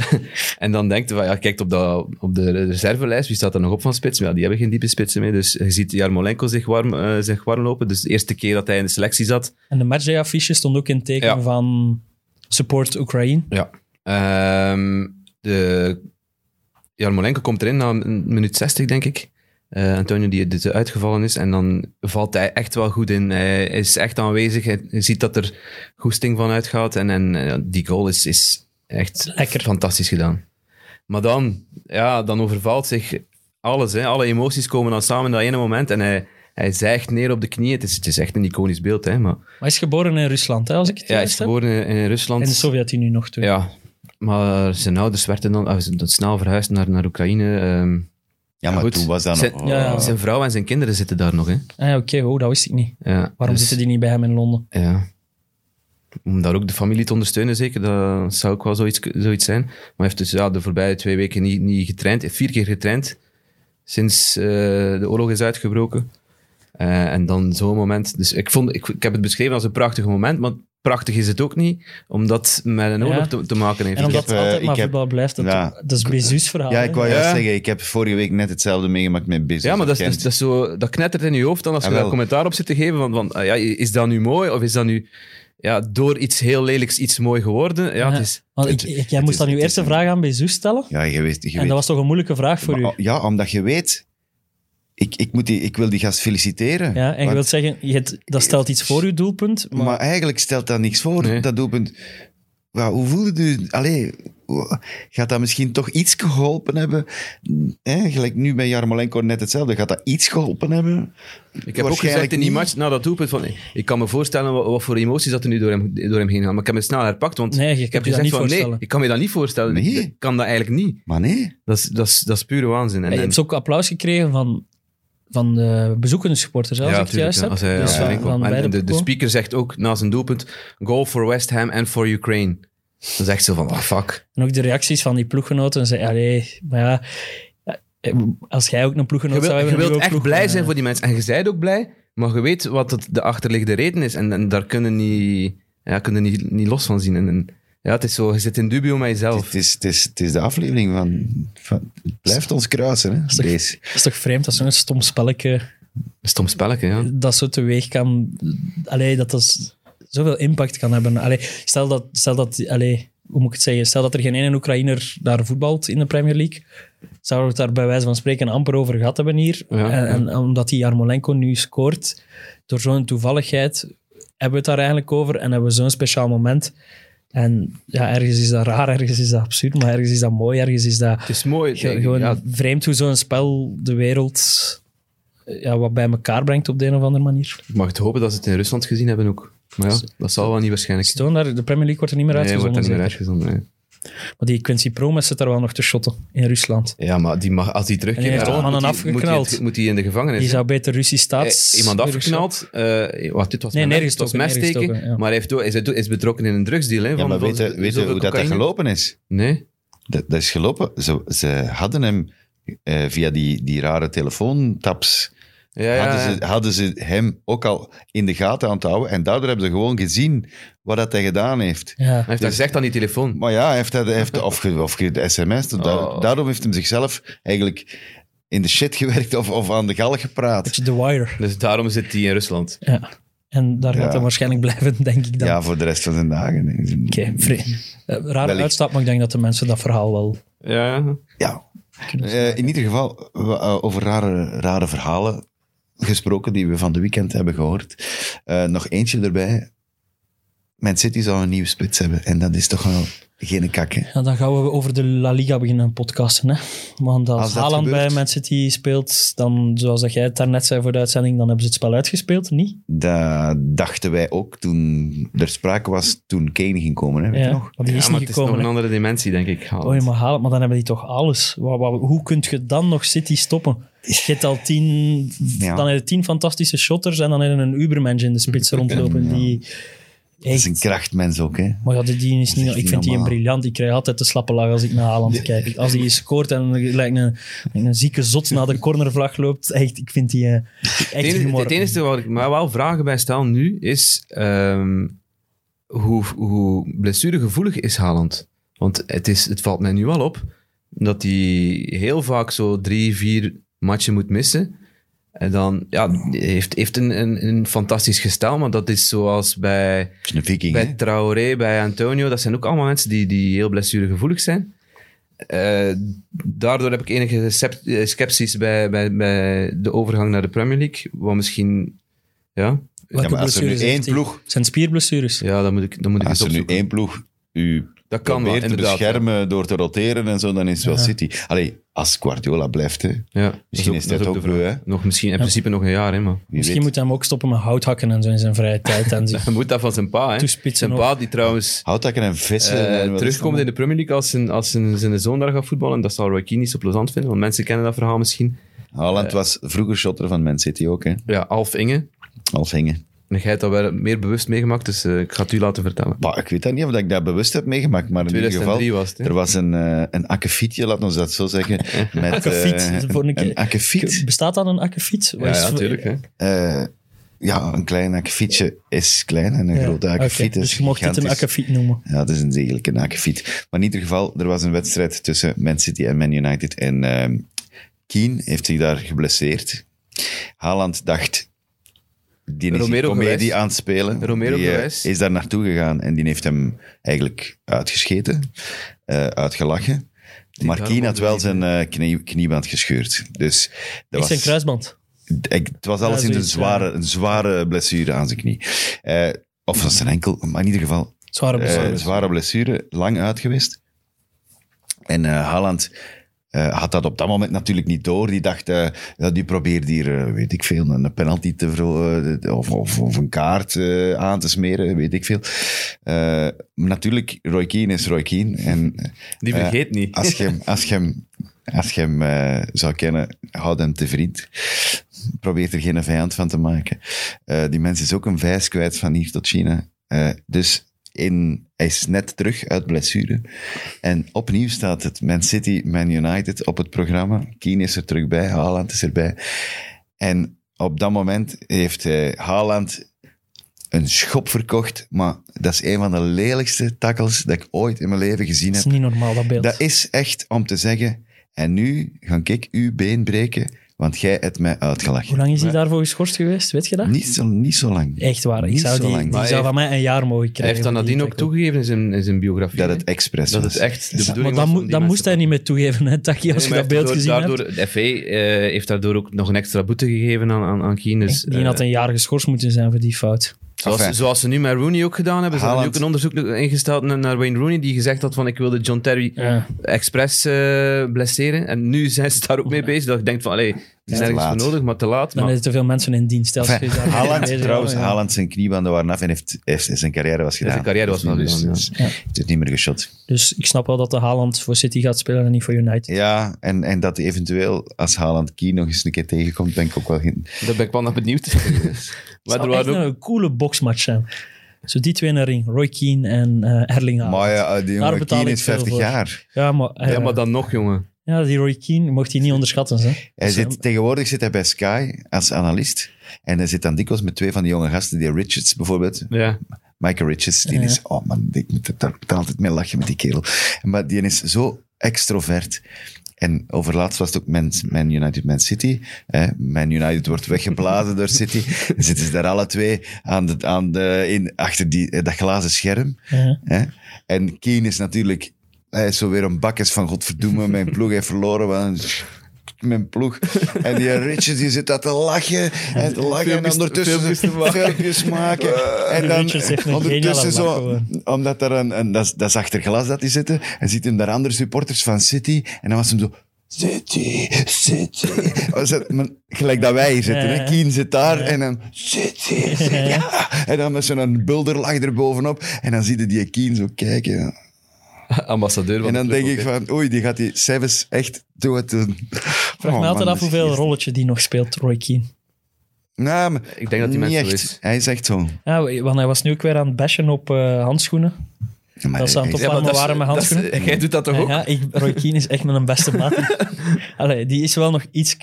S3: en dan denkt hij van, ja, kijkt op, dat, op de reservelijst, wie staat er nog op van spits? Maar ja, die hebben geen diepe spitsen mee, dus je ziet Jarmolenko zich warm, eh, zich warm lopen. Dus de eerste keer dat hij in de selectie zat,
S4: En de matchday-affiche stond ook in het teken
S3: Ja.
S4: van support Oekraïne.
S3: Ja. Ehm de Jarmolenko komt erin na een minuut 60, denk ik. Eh, Antonio die, die uitgevallen is. En dan valt hij echt wel goed in. Hij is echt aanwezig. Hij ziet dat er goesting van uitgaat. En, en eh, die goal is, is echt
S4: Lekker.
S3: fantastisch gedaan. Maar dan, ja, dan overvalt zich alles. Hè. Alle emoties komen dan samen in dat ene moment. En hij, hij zijgt neer op de knieën. Het is, het is echt een iconisch beeld. Hè, maar,
S4: Maar hij is geboren in Rusland, hè, als ik het
S3: ja, hij is
S4: juist heb.
S3: geboren in, in Rusland.
S4: In de Sovjet-Unie nog toen.
S3: Ja, maar zijn ouders werden dan, ah, ze zijn dan snel verhuisd naar, naar Oekraïne. ehm.
S2: Ja, maar
S3: goed.
S2: toen was dat
S3: zijn,
S2: nog...
S4: Ja, ja.
S3: zijn vrouw en zijn kinderen zitten daar nog, hè.
S4: Ah, ja, Oké, wow, dat wist ik niet.
S3: Ja,
S4: Waarom zitten die niet bij hem in Londen?
S3: die... Ja. Om daar ook de familie te ondersteunen, zeker, dat zou ook wel zoiets, zoiets zijn. Maar hij heeft dus ja, de voorbije twee weken niet, niet getraind. Hij heeft vier keer getraind, sinds eh, de oorlog is uitgebroken. Eh, en dan zo'n moment. Dus ik, vond, ik, ik heb het beschreven als een prachtig moment, maar prachtig is het ook niet, omdat het met een
S4: Ja.
S3: oorlog te, te maken heeft.
S4: En omdat
S2: heb,
S4: het
S2: eh,
S4: altijd
S2: ik
S4: maar
S2: heb-
S4: voetbal blijft, dat,
S2: Ja.
S4: dat is Bezus verhaal.
S2: Ja, ik wou
S4: hè.
S2: juist
S3: Ja.
S2: zeggen, ik heb vorige week net hetzelfde meegemaakt met Business.
S3: Ja, maar dat, Ah, is, dus-
S2: of
S3: dat, is-
S2: Gent.
S3: dat is zo, dat knettert in je hoofd dan als je
S2: Jawel.
S3: daar commentaar op zit te geven. Van, van, ah ja, is dat nu mooi of is dat nu ja, door iets heel lelijks iets mooi geworden? Ja,
S4: Ja.
S3: Het is,
S4: Want ik,
S2: het-
S4: ik-
S2: het
S4: jij moest
S2: is-
S4: dan uw
S2: het is
S4: eerste
S2: een-
S4: vraag aan Bezus stellen.
S2: Ja, je weet... Je
S4: En
S2: weet
S4: dat was toch een moeilijke vraag voor
S2: Maar,
S4: u.
S2: oh, Ja, omdat je weet... Ik, ik, moet die, ik wil die gast feliciteren.
S4: Ja, en je
S2: Want-
S4: wilt zeggen, je hebt- dat stelt iets voor uw doelpunt, maar,
S2: Maar, eigenlijk stelt dat niks voor,
S3: Nee.
S2: dat doelpunt. Wauw, hoe voelde u... Allee, wa- gaat dat misschien toch iets geholpen hebben? Hè, gelijk nu bij Jarmolenko net hetzelfde. Gaat dat iets geholpen hebben?
S3: ik heb ook
S2: Waarschijnlijk
S3: gezegd in die
S2: niet.
S3: match, na dat doelpunt, van, ik kan me voorstellen wat, wat voor emoties dat er nu door hem, door hem heen gaan. Maar ik heb me snel herpakt, want
S4: Nee, je kunt
S3: ik heb
S4: je dat
S3: gezegd
S4: niet
S3: van nee,
S4: voorstellen.
S3: ik kan me dat niet voorstellen.
S2: Nee.
S3: Ik kan dat eigenlijk niet.
S2: Maar nee.
S3: Dat is, dat is, dat is pure waanzin. En,
S4: je
S3: en-
S4: hebt ook applaus gekregen van, van de bezoekende supporters, hè, als ik het
S3: tuurlijk,
S4: juist
S3: ja,
S4: heb.
S3: als hij-
S4: Dus
S3: als hij
S4: van-
S3: binnenkomt.
S4: van
S3: En-
S4: beide
S3: en de, de
S4: ploegen.
S3: speaker zegt ook na zijn doelpunt, goal for West Ham and for Ukraine. Dan zegt ze van, ah fuck.
S4: En ook de reacties van die ploeggenoten. Zei, allee, maar ja, eh, als jij ook een
S3: Je,
S4: ploeggenoot
S3: wil-
S4: zou hebben...
S3: je
S4: die
S3: wilt
S4: ook
S3: echt
S4: ploeg-
S3: blij zijn
S4: eh,
S3: voor die mensen. En je zijt ook blij, maar je weet wat het, de achterliggende reden is. En, en daar kunnen niet, ja, kunnen niet, niet los van zien. En, en ja, het is zo, je zit in dubio met jezelf.
S2: Het is, het, is, het is de aflevering van... van het blijft ons kruisen, hè.
S4: toch-
S2: Deze.
S4: Het is toch vreemd dat zo'n stom spelletje
S3: Een stom spelletje, ja.
S4: dat zo teweeg kan... Allee, dat dat z- zoveel impact kan hebben. Allee, stel dat... Stel dat allee, hoe moet ik het zeggen? Stel dat er geen ene Oekraïner daar voetbalt in de Premier League. Zouden we het daar bij wijze van spreken amper over gehad hebben hier.
S3: Ja,
S4: en, en omdat die Jarmolenko nu scoort, door zo'n toevalligheid... hebben we het daar eigenlijk over en hebben we zo'n speciaal moment. En ja, ergens is dat raar, ergens is dat absurd, maar ergens is dat mooi, ergens is dat
S3: Het is mooi.
S4: ge- gewoon vreemd hoe zo'n spel de wereld eh, ja, wat bij elkaar brengt op de een of andere manier.
S3: ik mag het hopen dat ze het in Rusland gezien hebben ook. Maar ja, dat zal wel niet waarschijnlijk
S4: Is het gewoon daar, de Premier League wordt er niet meer
S3: Nee, wordt
S4: uitgezonden.
S3: er niet meer
S4: zeker?
S3: uitgezonden. nee.
S4: Maar die Quincy Promes zit daar wel nog te shotten in Rusland.
S3: Ja, maar die mag, als die terugkeert
S4: En hij
S3: naar
S4: heeft
S3: Holland,
S4: mannen
S3: moet die- moet die-
S4: afgeknald.
S3: moet hij in de gevangenis.
S4: Die
S3: hè?
S4: zou beter Russisch staats...
S3: Eh, iemand afgeknald. eh, wat, dit was
S4: Nee,
S3: mijn-
S4: neergestoken,
S3: het was mijn steken,
S4: neergestoken, ja.
S3: Maar hij, heeft, ook- hij is, hij is betrokken in een drugsdeal. Hè,
S2: Ja,
S3: van-
S2: maar
S3: van
S2: weet je
S3: z-
S2: weet je
S3: zoveel
S2: hoe dat, dat
S3: cocaïne.
S2: gelopen is?
S3: Nee.
S2: Dat, dat is gelopen. Ze, ze hadden hem eh, via die, die rare telefoontaps.
S3: Ja, ja,
S2: Hadden, ze, hadden ze hem ook al in de gaten aan het houden. En daardoor hebben ze gewoon gezien wat dat hij gedaan heeft.
S4: Ja.
S3: Hij heeft dat gezegd aan die telefoon.
S2: Maar ja, hij heeft, hij heeft of, ge, of ge- de sms.
S3: Oh.
S2: Daarom heeft hem zichzelf eigenlijk in de shit gewerkt of, of aan de galg gepraat.
S4: Beetje The Wire.
S3: Dus daarom zit hij in Rusland.
S4: Ja. En daar gaat
S2: Ja.
S4: hij waarschijnlijk blijven, denk ik dan.
S2: Ja, voor de rest van zijn dagen.
S4: Oké, vre- eh, rare
S2: Wellicht.
S4: uitstap, maar ik denk dat de mensen dat verhaal wel...
S3: Ja.
S2: Ja. Eh, in ieder geval, we- eh, over rare, rare verhalen gesproken die we van de weekend hebben gehoord. Eh, nog eentje erbij. Man City zou een nieuwe spits hebben. En dat is toch wel geen kak, hè?
S4: Ja, dan gaan we over de La Liga beginnen podcasten. Hè? Want als,
S2: Als dat
S4: Haaland bij
S2: gebeurt.
S4: Man City speelt, dan, zoals dat jij het daarnet zei voor de uitzending, dan hebben ze het spel uitgespeeld, niet?
S2: Dat dachten wij ook toen er sprake was toen Kane ging komen, hè? Weet je
S4: Ja,
S2: nog?
S4: maar die is
S3: Ja, maar
S4: niet
S3: het is nog
S4: gekomen.
S3: een
S4: hè.
S3: andere dimensie, denk ik. Haaland.
S4: Oh ja, maar Haaland, maar dan hebben die toch alles. Wa- wa- hoe kun je dan nog City stoppen? Je hebt al tien,
S2: Ja.
S4: dan heb je tien fantastische shotters en dan heb je een ubermensch in de spits rondlopen. Die,
S2: Dat is een
S4: echt,
S2: krachtmens ook, hè?
S4: maar ja, die- die is
S2: Dat is
S4: niet,
S2: echt
S4: ik vind die een
S2: normaal.
S4: briljant. Ik krijg altijd de slappe lach als ik naar Haaland kijk. Als die scoort en lijkt een, lijkt een zieke zot naar de cornervlag loopt. Echt, ik vind die eh,
S3: Het
S4: echt
S3: enige,
S4: humor.
S3: het enige waar ik me wel vragen bij stel nu is ehm, hoe, hoe blessuregevoelig is Haaland? Want het, is, het valt mij nu al op dat hij heel vaak zo drie, vier matchen moet missen. En dan ja, heeft, heeft een, een, een fantastisch gestel, maar dat is zoals bij,
S2: Dat is een viking,
S3: bij
S2: hè?
S3: Traoré, bij Antonio. Dat zijn ook allemaal mensen die, die heel blessuregevoelig zijn. Eh, daardoor heb ik enige sep- eh, scepties bij, bij, bij de overgang naar de Premier League. Wat misschien... Ja,
S2: Ja, maar als er nu
S4: blessures
S2: één
S4: heeft hij?
S2: ploeg,
S4: Het zijn spierblessures.
S3: ja dat moet ik, dat moet ik
S2: als
S3: eens
S2: er nu
S3: opzoeken.
S2: één ploeg u
S3: Dat kan wel,
S2: probeert te
S3: inderdaad.
S2: beschermen door te roteren en zo, dan is het wel
S4: Ja.
S2: City. Allee, als Guardiola blijft, hè?
S3: Ja, dat
S2: Misschien
S3: ook-
S2: is dat
S3: ook
S2: ook
S3: de vraag.
S2: beu, hè?
S3: Nog misschien, in principe nog een jaar, hè, maar...
S2: Wie
S4: Misschien
S2: weet.
S4: moet hij hem ook stoppen met houthakken en zo in zijn vrije tijd. En zich
S3: Hij moet dat van zijn pa, hè.
S4: Toespitsen
S3: Zijn pa die trouwens
S2: Houtakken en
S3: eh,
S2: vissen.
S3: terugkomt in de Premier League als zijn, als zijn, zijn zoon daar gaat voetballen. En dat zal Roy Keane niet zo plezant vinden, want mensen kennen dat verhaal misschien.
S2: Haaland
S3: Eh.
S2: was vroeger shotter van Man City ook, hè?
S3: Ja, Alf Inge.
S2: Als hingen.
S3: En jij hebt dat wel meer bewust meegemaakt, dus eh, ik ga het u laten vertellen.
S2: Maar ik weet dat niet of ik dat bewust heb meegemaakt, maar in ieder geval.
S3: 2003 was het, hè?
S2: Er was een, eh een akkefietje, laten we dat zo zeggen. Met,
S4: Akkefiet,
S2: eh,
S4: dat is voor een keer-
S2: een akkefiet.
S4: Bestaat dat een akkefiet? Wat
S3: Ja,
S4: is-
S3: ja, tuurlijk. Hè.
S2: Eh, ja, een klein akkefietje is klein en een
S4: Ja,
S2: grote
S4: oké.
S2: akkefiet is
S4: Dus je mocht dit een
S2: gigantisch.
S4: akkefiet noemen.
S2: Ja, het is een degelijke nakefiet. Maar in ieder geval, er was een wedstrijd tussen Man City en Man United. En ehm Keane heeft zich daar geblesseerd. Haaland dacht, die is
S3: Romero
S2: Romero comedie
S3: gewijs.
S2: aan het spelen.
S3: Romero
S2: die eh,
S3: gewijs.
S2: is daar naartoe gegaan en die heeft hem eigenlijk uitgescheten, eh, uitgelachen. maar
S3: daarom
S2: Keane had wel
S3: onderliep,
S2: zijn eh, knie, knieband gescheurd. Dus dat
S4: Ik
S2: was,
S4: zijn kruisband.
S2: ik- het was alles
S4: Ja,
S2: in een
S4: zoiets, ja.
S2: zware, een zware blessure aan zijn knie. Eh, of was zijn enkel, maar in ieder geval,
S4: Zware
S2: eh,
S4: blessure.
S2: zware blessure, lang uit geweest. En eh Haaland eh, had dat op dat moment natuurlijk niet door. Die dacht, eh, ja, die probeert hier, eh, weet ik veel, een penalty te vro- eh, of, of, of een kaart eh, aan te smeren, weet ik veel. Eh, maar natuurlijk, Roy Keane is Roy Keane. En eh,
S3: Die vergeet niet.
S2: als je hem, als je hem, als je hem eh, zou kennen, houd hem te vriend. Probeer er geen vijand van te maken. Eh, die mens is ook een vijs kwijt van hier tot China. Eh, dus in, hij is net terug uit blessure. En opnieuw staat het Man City, Man United op het programma. Keane is er terug bij, Haaland is erbij. En op dat moment heeft eh, Haaland een schop verkocht, maar dat is een van de lelijkste tackles dat ik ooit in mijn leven gezien
S4: Dat
S2: heb.
S4: is niet normaal, dat beeld.
S2: Dat is echt om te zeggen, en nu ga ik uw been breken, want jij hebt mij
S4: Hoe
S2: uitgelachen.
S4: lang is hij daarvoor geschorst geweest? Weet je dat?
S2: Niet zo, niet zo lang.
S4: Echt waar. Ik
S2: Niet
S4: zou
S2: zo
S4: die,
S2: lang.
S4: die
S2: Maar
S4: zou
S3: hij-
S4: van mij een jaar mogen
S3: Hij
S4: krijgen.
S3: heeft dat
S4: voor die
S3: nadien ook
S4: tackle.
S3: toegegeven in zijn, in zijn biografie.
S2: Dat
S3: hè.
S2: het expres
S3: dat
S2: was.
S3: is echt de
S2: Ja.
S3: bedoeling.
S4: Maar
S3: was
S4: dat,
S3: om
S4: mo- dat
S3: die mensen
S4: moest
S3: te
S4: hij niet meer toegeven, hè, Taki, als
S3: Nee,
S4: je
S3: maar
S4: dat
S3: hij
S4: beeld
S3: heeft
S4: gezien
S3: daardoor,
S4: hebt.
S3: De FA eh, heeft daardoor ook nog een extra boete gegeven aan, aan, aan Keane. Dus,
S4: Die had
S3: eh,
S4: een jaar geschorst moeten zijn voor die fout.
S3: Zoals,
S2: Enfin.
S3: zoals ze nu met Rooney ook gedaan hebben. Ze hebben nu
S2: Haaland.
S3: ook een onderzoek ingesteld naar- naar Wayne Rooney, die gezegd had van ik wilde John Terry
S4: Ja.
S3: expres eh, blesseren. En nu zijn ze daar ook mee bezig. Dat ik denk van, allee, het is
S2: te
S3: nergens
S2: laat.
S3: voor nodig, maar te laat.
S4: Dan
S3: Maar,
S4: is er te veel mensen in dienst. als je daar-
S2: Haaland,
S4: Ja,
S2: trouwens,
S4: ja.
S2: Haaland, zijn kniebanden waren af en heeft, heeft, zijn carrière was gedaan.
S3: zijn carrière was wel
S2: dus,
S3: gedaan,
S2: dus heeft het niet meer geschot.
S4: Dus ik snap wel dat de Haaland voor City gaat spelen en niet voor United.
S2: Ja, en, en dat eventueel, als Haaland Key nog eens een keer tegenkomt, ben ik ook wel... geen-
S3: daar ben ik wel naar benieuwd.
S4: Het
S3: maar er
S4: zou echt
S3: waren ook...
S4: een coole boxmatch zijn. Zo die twee in een ring. Roy Keane en eh Erling Haaland.
S2: Maar ja, die
S4: Daar
S2: jongen
S4: betaal
S2: Keane
S4: ik
S2: is
S4: veel
S2: 50
S4: voor.
S2: jaar.
S4: Ja, maar, eh,
S3: Ja, maar dan nog, jongen.
S4: ja, die Roy Keane je mocht hij niet onderschatten. Hè.
S2: Hij
S4: Dus,
S2: zit, tegenwoordig zit hij bij Sky als analist. En hij zit dan dikwijls met twee van die jonge gasten, die Richards bijvoorbeeld.
S3: Ja.
S2: Michael Richards, die
S4: Ja.
S2: is... Oh man, ik moet er daar- daar altijd mee lachen met die kerel. Maar die is zo extrovert. En overlaatst was het ook Man, Man United, Man City. Hè? Man United wordt weggeblazen door City. Dan zitten ze daar alle twee aan de, aan de, in, achter die, eh, dat glazen scherm.
S4: eh,
S2: Hè? En Keane is natuurlijk... Hij is zo weer een bakkes van godverdoeme, mijn ploeg heeft verloren. want- Mijn ploeg. En die Richards die zit dat te lachen. En te lachen. En
S3: Filmpjes-
S2: ondertussen
S3: filmpjes te maken.
S2: filmpjes maken. En
S4: Eh, Die
S2: dan
S4: Richards heeft een
S2: ondertussen
S4: geniale lach
S2: zo...
S4: gewoon.
S2: Omdat er een... een dat, is, dat is achter glas dat die zitten. En ziet hem daar andere supporters van City. En dan was hem zo... City, City. Oh, ze- maar Gelijk dat wij hier zitten.
S4: Ja,
S2: hè.
S4: ja.
S2: Keane zit daar en dan... City, City. En dan met zo'n bulderlach erbovenop. En dan zie je die Keane zo kijken.
S3: Ambassadeur van
S2: En dan
S3: de club
S2: denk ik
S3: ook,
S2: van, oei, die gaat die Seves echt Oh, doen het doen.
S3: Oh,
S4: Vraag me altijd af hoeveel rolletje die nog speelt, Roy Keane.
S2: Nou, maar
S3: Ik denk dat die
S2: niet
S3: mens zo
S2: echt.
S3: is.
S2: Hij is echt zo.
S4: Ja, want hij was nu ook weer aan het bashen op eh, handschoenen.
S2: Maar
S4: Dat is aan
S2: hij-
S4: het
S3: hè.
S2: hij-
S4: op- Warme,
S3: dat is-
S4: warme
S3: dat is-
S4: handschoenen.
S3: Jij doet dat toch ook?
S4: Ja, ik, Roy Keane is echt mijn beste maat. Allee, die is wel nog iets...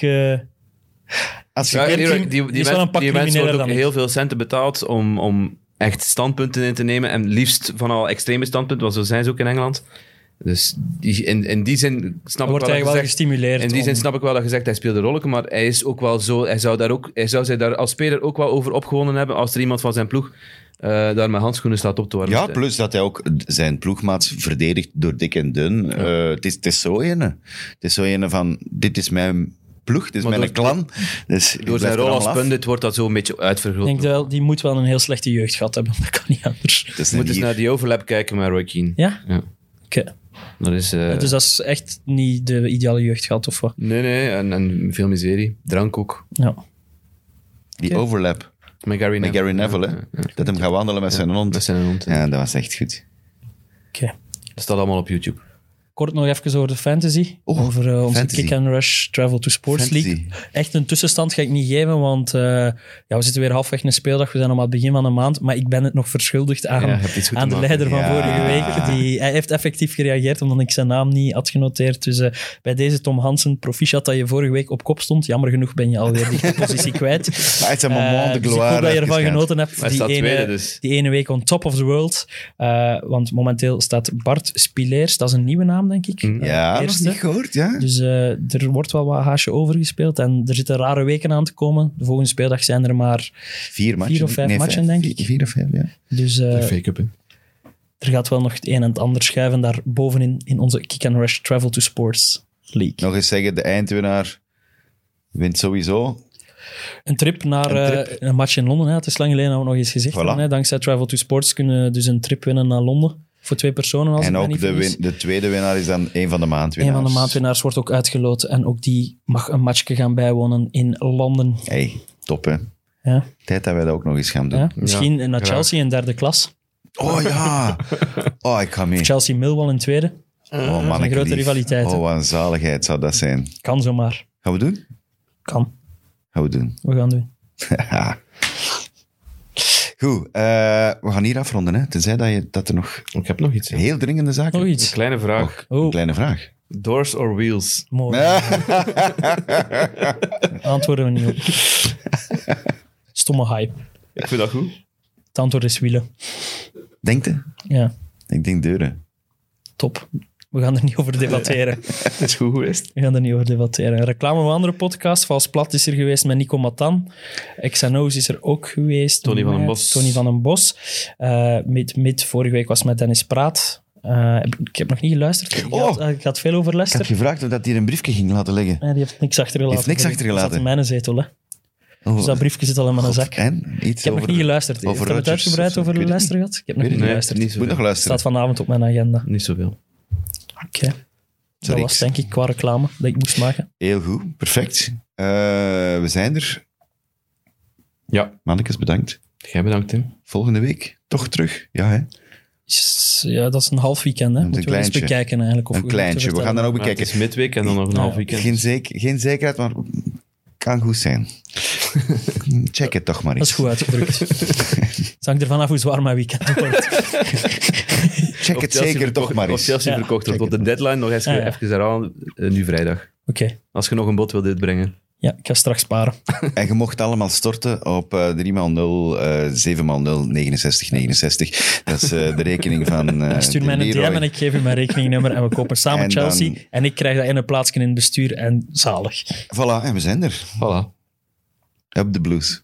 S2: Als je
S3: Ja,
S2: kent
S3: die,
S2: hem-
S3: die, die,
S4: die is wel
S3: mens-
S4: een pak
S3: die mens
S4: crimineler
S3: wordt ook
S4: dan ik.
S3: heel veel centen betaald om, om echt standpunten in te nemen. En liefst van al extreme standpunten, want zo zijn ze ook in Engeland. Dus die, in, in die zin snap
S4: wordt hij
S3: ik wel dat
S4: wel
S3: je zegt...
S4: gestimuleerd.
S3: In die zin
S4: om-
S3: snap ik wel dat je zegt, hij speelde rolletje, maar hij is ook wel zo... Hij zou, daar ook, hij zou zich daar als speler ook wel over opgewonden hebben als er iemand van zijn ploeg eh, daar met handschoenen staat op te warmen. Dus,
S2: Ja, plus dat hij ook zijn ploegmaat verdedigt door dik en dun. Eh, Het is het is zo ene. Het is zo ene van, dit is mijn ploeg, dit is
S3: Maar
S2: mijn
S3: door-
S2: clan. Dus ik
S3: Door
S2: blijf
S3: zijn
S2: er
S3: rol
S2: allemaal
S3: als
S2: af.
S3: pundit wordt dat zo een beetje
S4: Ik
S3: uitvergroot.
S4: denk wel, die moet wel een heel slechte jeugd gehad hebben. Dat kan niet anders.
S2: Het is
S3: Je moet
S2: een
S3: eens
S2: hier.
S3: naar die overlap kijken met Roy Keane.
S4: Ja?
S3: Ja.
S4: Oké.
S3: Dat is... eh,
S4: Dus dat is echt niet de ideale jeugd gehad, of wat?
S3: Nee, nee, en, en veel miserie. Drank ook.
S4: Ja.
S2: Die overlap
S3: Met Gary
S2: met
S3: Neville.
S2: Gary Neville. hè. Dat hem gaat wandelen met zijn hond.
S3: Met zijn hond.
S2: Ja, dat was echt goed.
S4: Oké.
S3: Dat staat allemaal op YouTube.
S4: Kort nog even over de fantasy.
S2: Oh,
S4: over eh, onze
S2: fantasy.
S4: Kick and Rush Travel to Sports
S2: Fantasy.
S4: League. Echt een tussenstand ga ik niet geven, want eh, ja, we zitten weer halfweg in een speeldag. We zijn nog aan het begin van de maand, maar ik ben het nog verschuldigd aan,
S3: Ja, je hebt iets goed
S4: aan
S3: te
S4: de
S3: maken.
S4: leider van
S2: Ja.
S4: vorige week. Die, hij heeft effectief gereageerd omdat ik zijn naam niet had genoteerd. Dus eh, bij deze Tom Hansen, proficiat dat je vorige week op kop stond. Jammer genoeg ben je alweer die positie kwijt.
S2: Maar het is een moment de
S4: Eh, dus
S2: gloire.
S4: ik hoop dat je
S2: even
S4: ervan
S2: gaat.
S4: genoten hebt.
S3: Hij
S4: die
S3: staat
S4: ene,
S3: tweede dus.
S4: die ene week on top of the world. Eh, want momenteel staat Bart Spileers, dat is een nieuwe naam, denk ik.
S3: Mm.
S4: Eh,
S2: Ja, nog
S4: eerste.
S2: niet gehoord, ja.
S4: Dus eh, er wordt wel wat haasje overgespeeld. En er zitten rare weken aan te komen. De volgende speeldag zijn er maar.
S2: Vier matchen.
S4: of vijf matchen,
S2: vijf.
S4: denk ik.
S2: Vier of vijf, ja.
S4: Dus eh,
S3: fake-up,
S4: er gaat wel nog het een en het ander schuiven daar bovenin in onze Kick and Rush Travel to Sports League.
S2: Nog eens zeggen, de eindwinnaar wint sowieso.
S4: Een trip naar
S2: Een
S4: eh, een,
S2: trip.
S4: match in Londen. Hè. Het is lang geleden dat we het nog eens gezegd
S2: Voilà.
S4: hebben. Hè. Dankzij Travel to Sports kunnen we dus een trip winnen naar Londen. Voor twee personen. Als ik
S2: en
S4: mij
S2: ook
S4: niet
S2: de,
S4: vergis.
S2: win- de tweede winnaar is dan een van de
S4: Een
S2: maandwinnaars.
S4: van de maandwinnaars wordt ook uitgeloot. En ook die mag een matchje gaan bijwonen in Londen.
S2: Hey, top hè.
S4: Ja,
S2: Tijd dat wij dat ook nog eens gaan doen.
S4: ja. Misschien naar
S3: graag.
S4: Chelsea in derde klas.
S2: Oh ja. Oh, ik ga mee.
S4: Chelsea-Millwall in tweede.
S2: Oh man, ik
S4: grote
S2: lief.
S4: rivaliteit, hè.
S2: Oh, wat een zaligheid zou dat zijn.
S4: Kan zomaar.
S2: Gaan we doen?
S4: Kan.
S2: Gaan we doen.
S4: We gaan doen.
S2: Haha. Goed, eh, we gaan hier afronden. Hè. Tenzij dat, je, dat er nog
S3: Ik heb nog iets.
S2: heel dringende zaken...
S4: Nog
S3: Een
S4: iets.
S3: kleine vraag.
S2: Een
S4: Oh,
S2: kleine vraag.
S3: Doors or wheels?
S4: mooi. Antwoorden we niet op. Stomme hype.
S3: Ik vind dat goed.
S4: Het antwoord is wielen.
S2: Denk je?
S4: Ja,
S2: Ik denk deuren.
S4: top. We gaan er niet over debatteren.
S3: Dat is goed geweest.
S4: We gaan er niet over debatteren. Een reclame van een andere podcast. Vals Plat is er geweest met Nico Matan. Xano's is er ook geweest.
S3: Tony van den
S4: Met
S3: Bos.
S4: Tony van den Bos. Eh, mid, mid, vorige week was met Dennis Praat. Eh, heb- ik heb nog niet geluisterd. Ik,
S2: Oh.
S4: had, eh, ik had veel over
S2: Ik had
S4: Lester.
S2: gevraagd of dat hier een briefje ging laten leggen.
S4: Nee, die heeft niks achtergelaten.
S2: Heeft niks achtergelaten.
S4: Zat in mijn zetel, hè.
S2: Oh,
S4: Dus dat briefje zit al in mijn
S2: God,
S4: zak. Ik
S2: En? Iets
S4: heb nog
S2: over...
S4: niet geluisterd.
S2: over
S4: Heeft er het
S2: Rodgers of
S4: uitgebreid
S2: zo?
S4: over
S2: Ik weet het
S4: luisteren gehad? Ik heb nog niet
S3: Nee,
S4: geluisterd.
S3: Niet
S4: Het
S2: Moet nog
S3: zoveel.
S2: luisteren.
S4: staat vanavond op mijn agenda.
S3: Niet zoveel.
S4: Oké. Dat
S2: Sorry.
S4: was denk ik qua reclame dat ik moest maken.
S2: Heel goed, perfect. Eh, we zijn er.
S3: Ja.
S2: Mannekes, bedankt.
S3: Jij bedankt, Tim.
S2: Volgende week toch terug. Ja, hè?
S4: Yes, Ja, dat is een half weekend.
S2: Met
S4: Hè.
S2: een
S4: Moeten we eens
S2: kleintje.
S4: bekijken eigenlijk. Of
S2: Een
S4: we moeten
S2: kleintje. We gaan
S4: vertellen.
S2: dan ook
S3: Maar het
S2: bekijken.
S3: is midweek en dan nog een half weekend.
S2: Geen, zeker, geen zekerheid, maar kan goed zijn. Check het toch maar
S4: Dat is
S2: eens.
S4: goed uitgedrukt. Het hangt ervan af hoe zwaar mijn weekend wordt.
S2: Check
S3: Of
S2: het
S3: Chelsea
S2: zeker
S3: verkocht-
S2: toch maar
S3: Of
S2: eens.
S3: Chelsea
S4: Ja.
S3: verkocht wordt.
S2: Kijk
S3: Tot de deadline nog eens
S4: Ah, ja.
S3: even herhalen. eh, nu vrijdag.
S4: Oké,
S3: Als je nog een bod wilt uitbrengen.
S4: ja, ik ga straks sparen.
S2: En je mocht allemaal storten op eh, 3x0, eh 7x0, 69, 69. Dat is eh, de rekening van eh
S4: Stuur
S2: de
S4: mij een DM
S2: Leroy.
S4: en ik geef u mijn rekeningnummer en we kopen samen
S2: En dan-
S4: Chelsea. En ik krijg dat in een plaatsje in het bestuur en zalig.
S2: Voilà, en we zijn er.
S3: Voilà.
S2: Up the blues.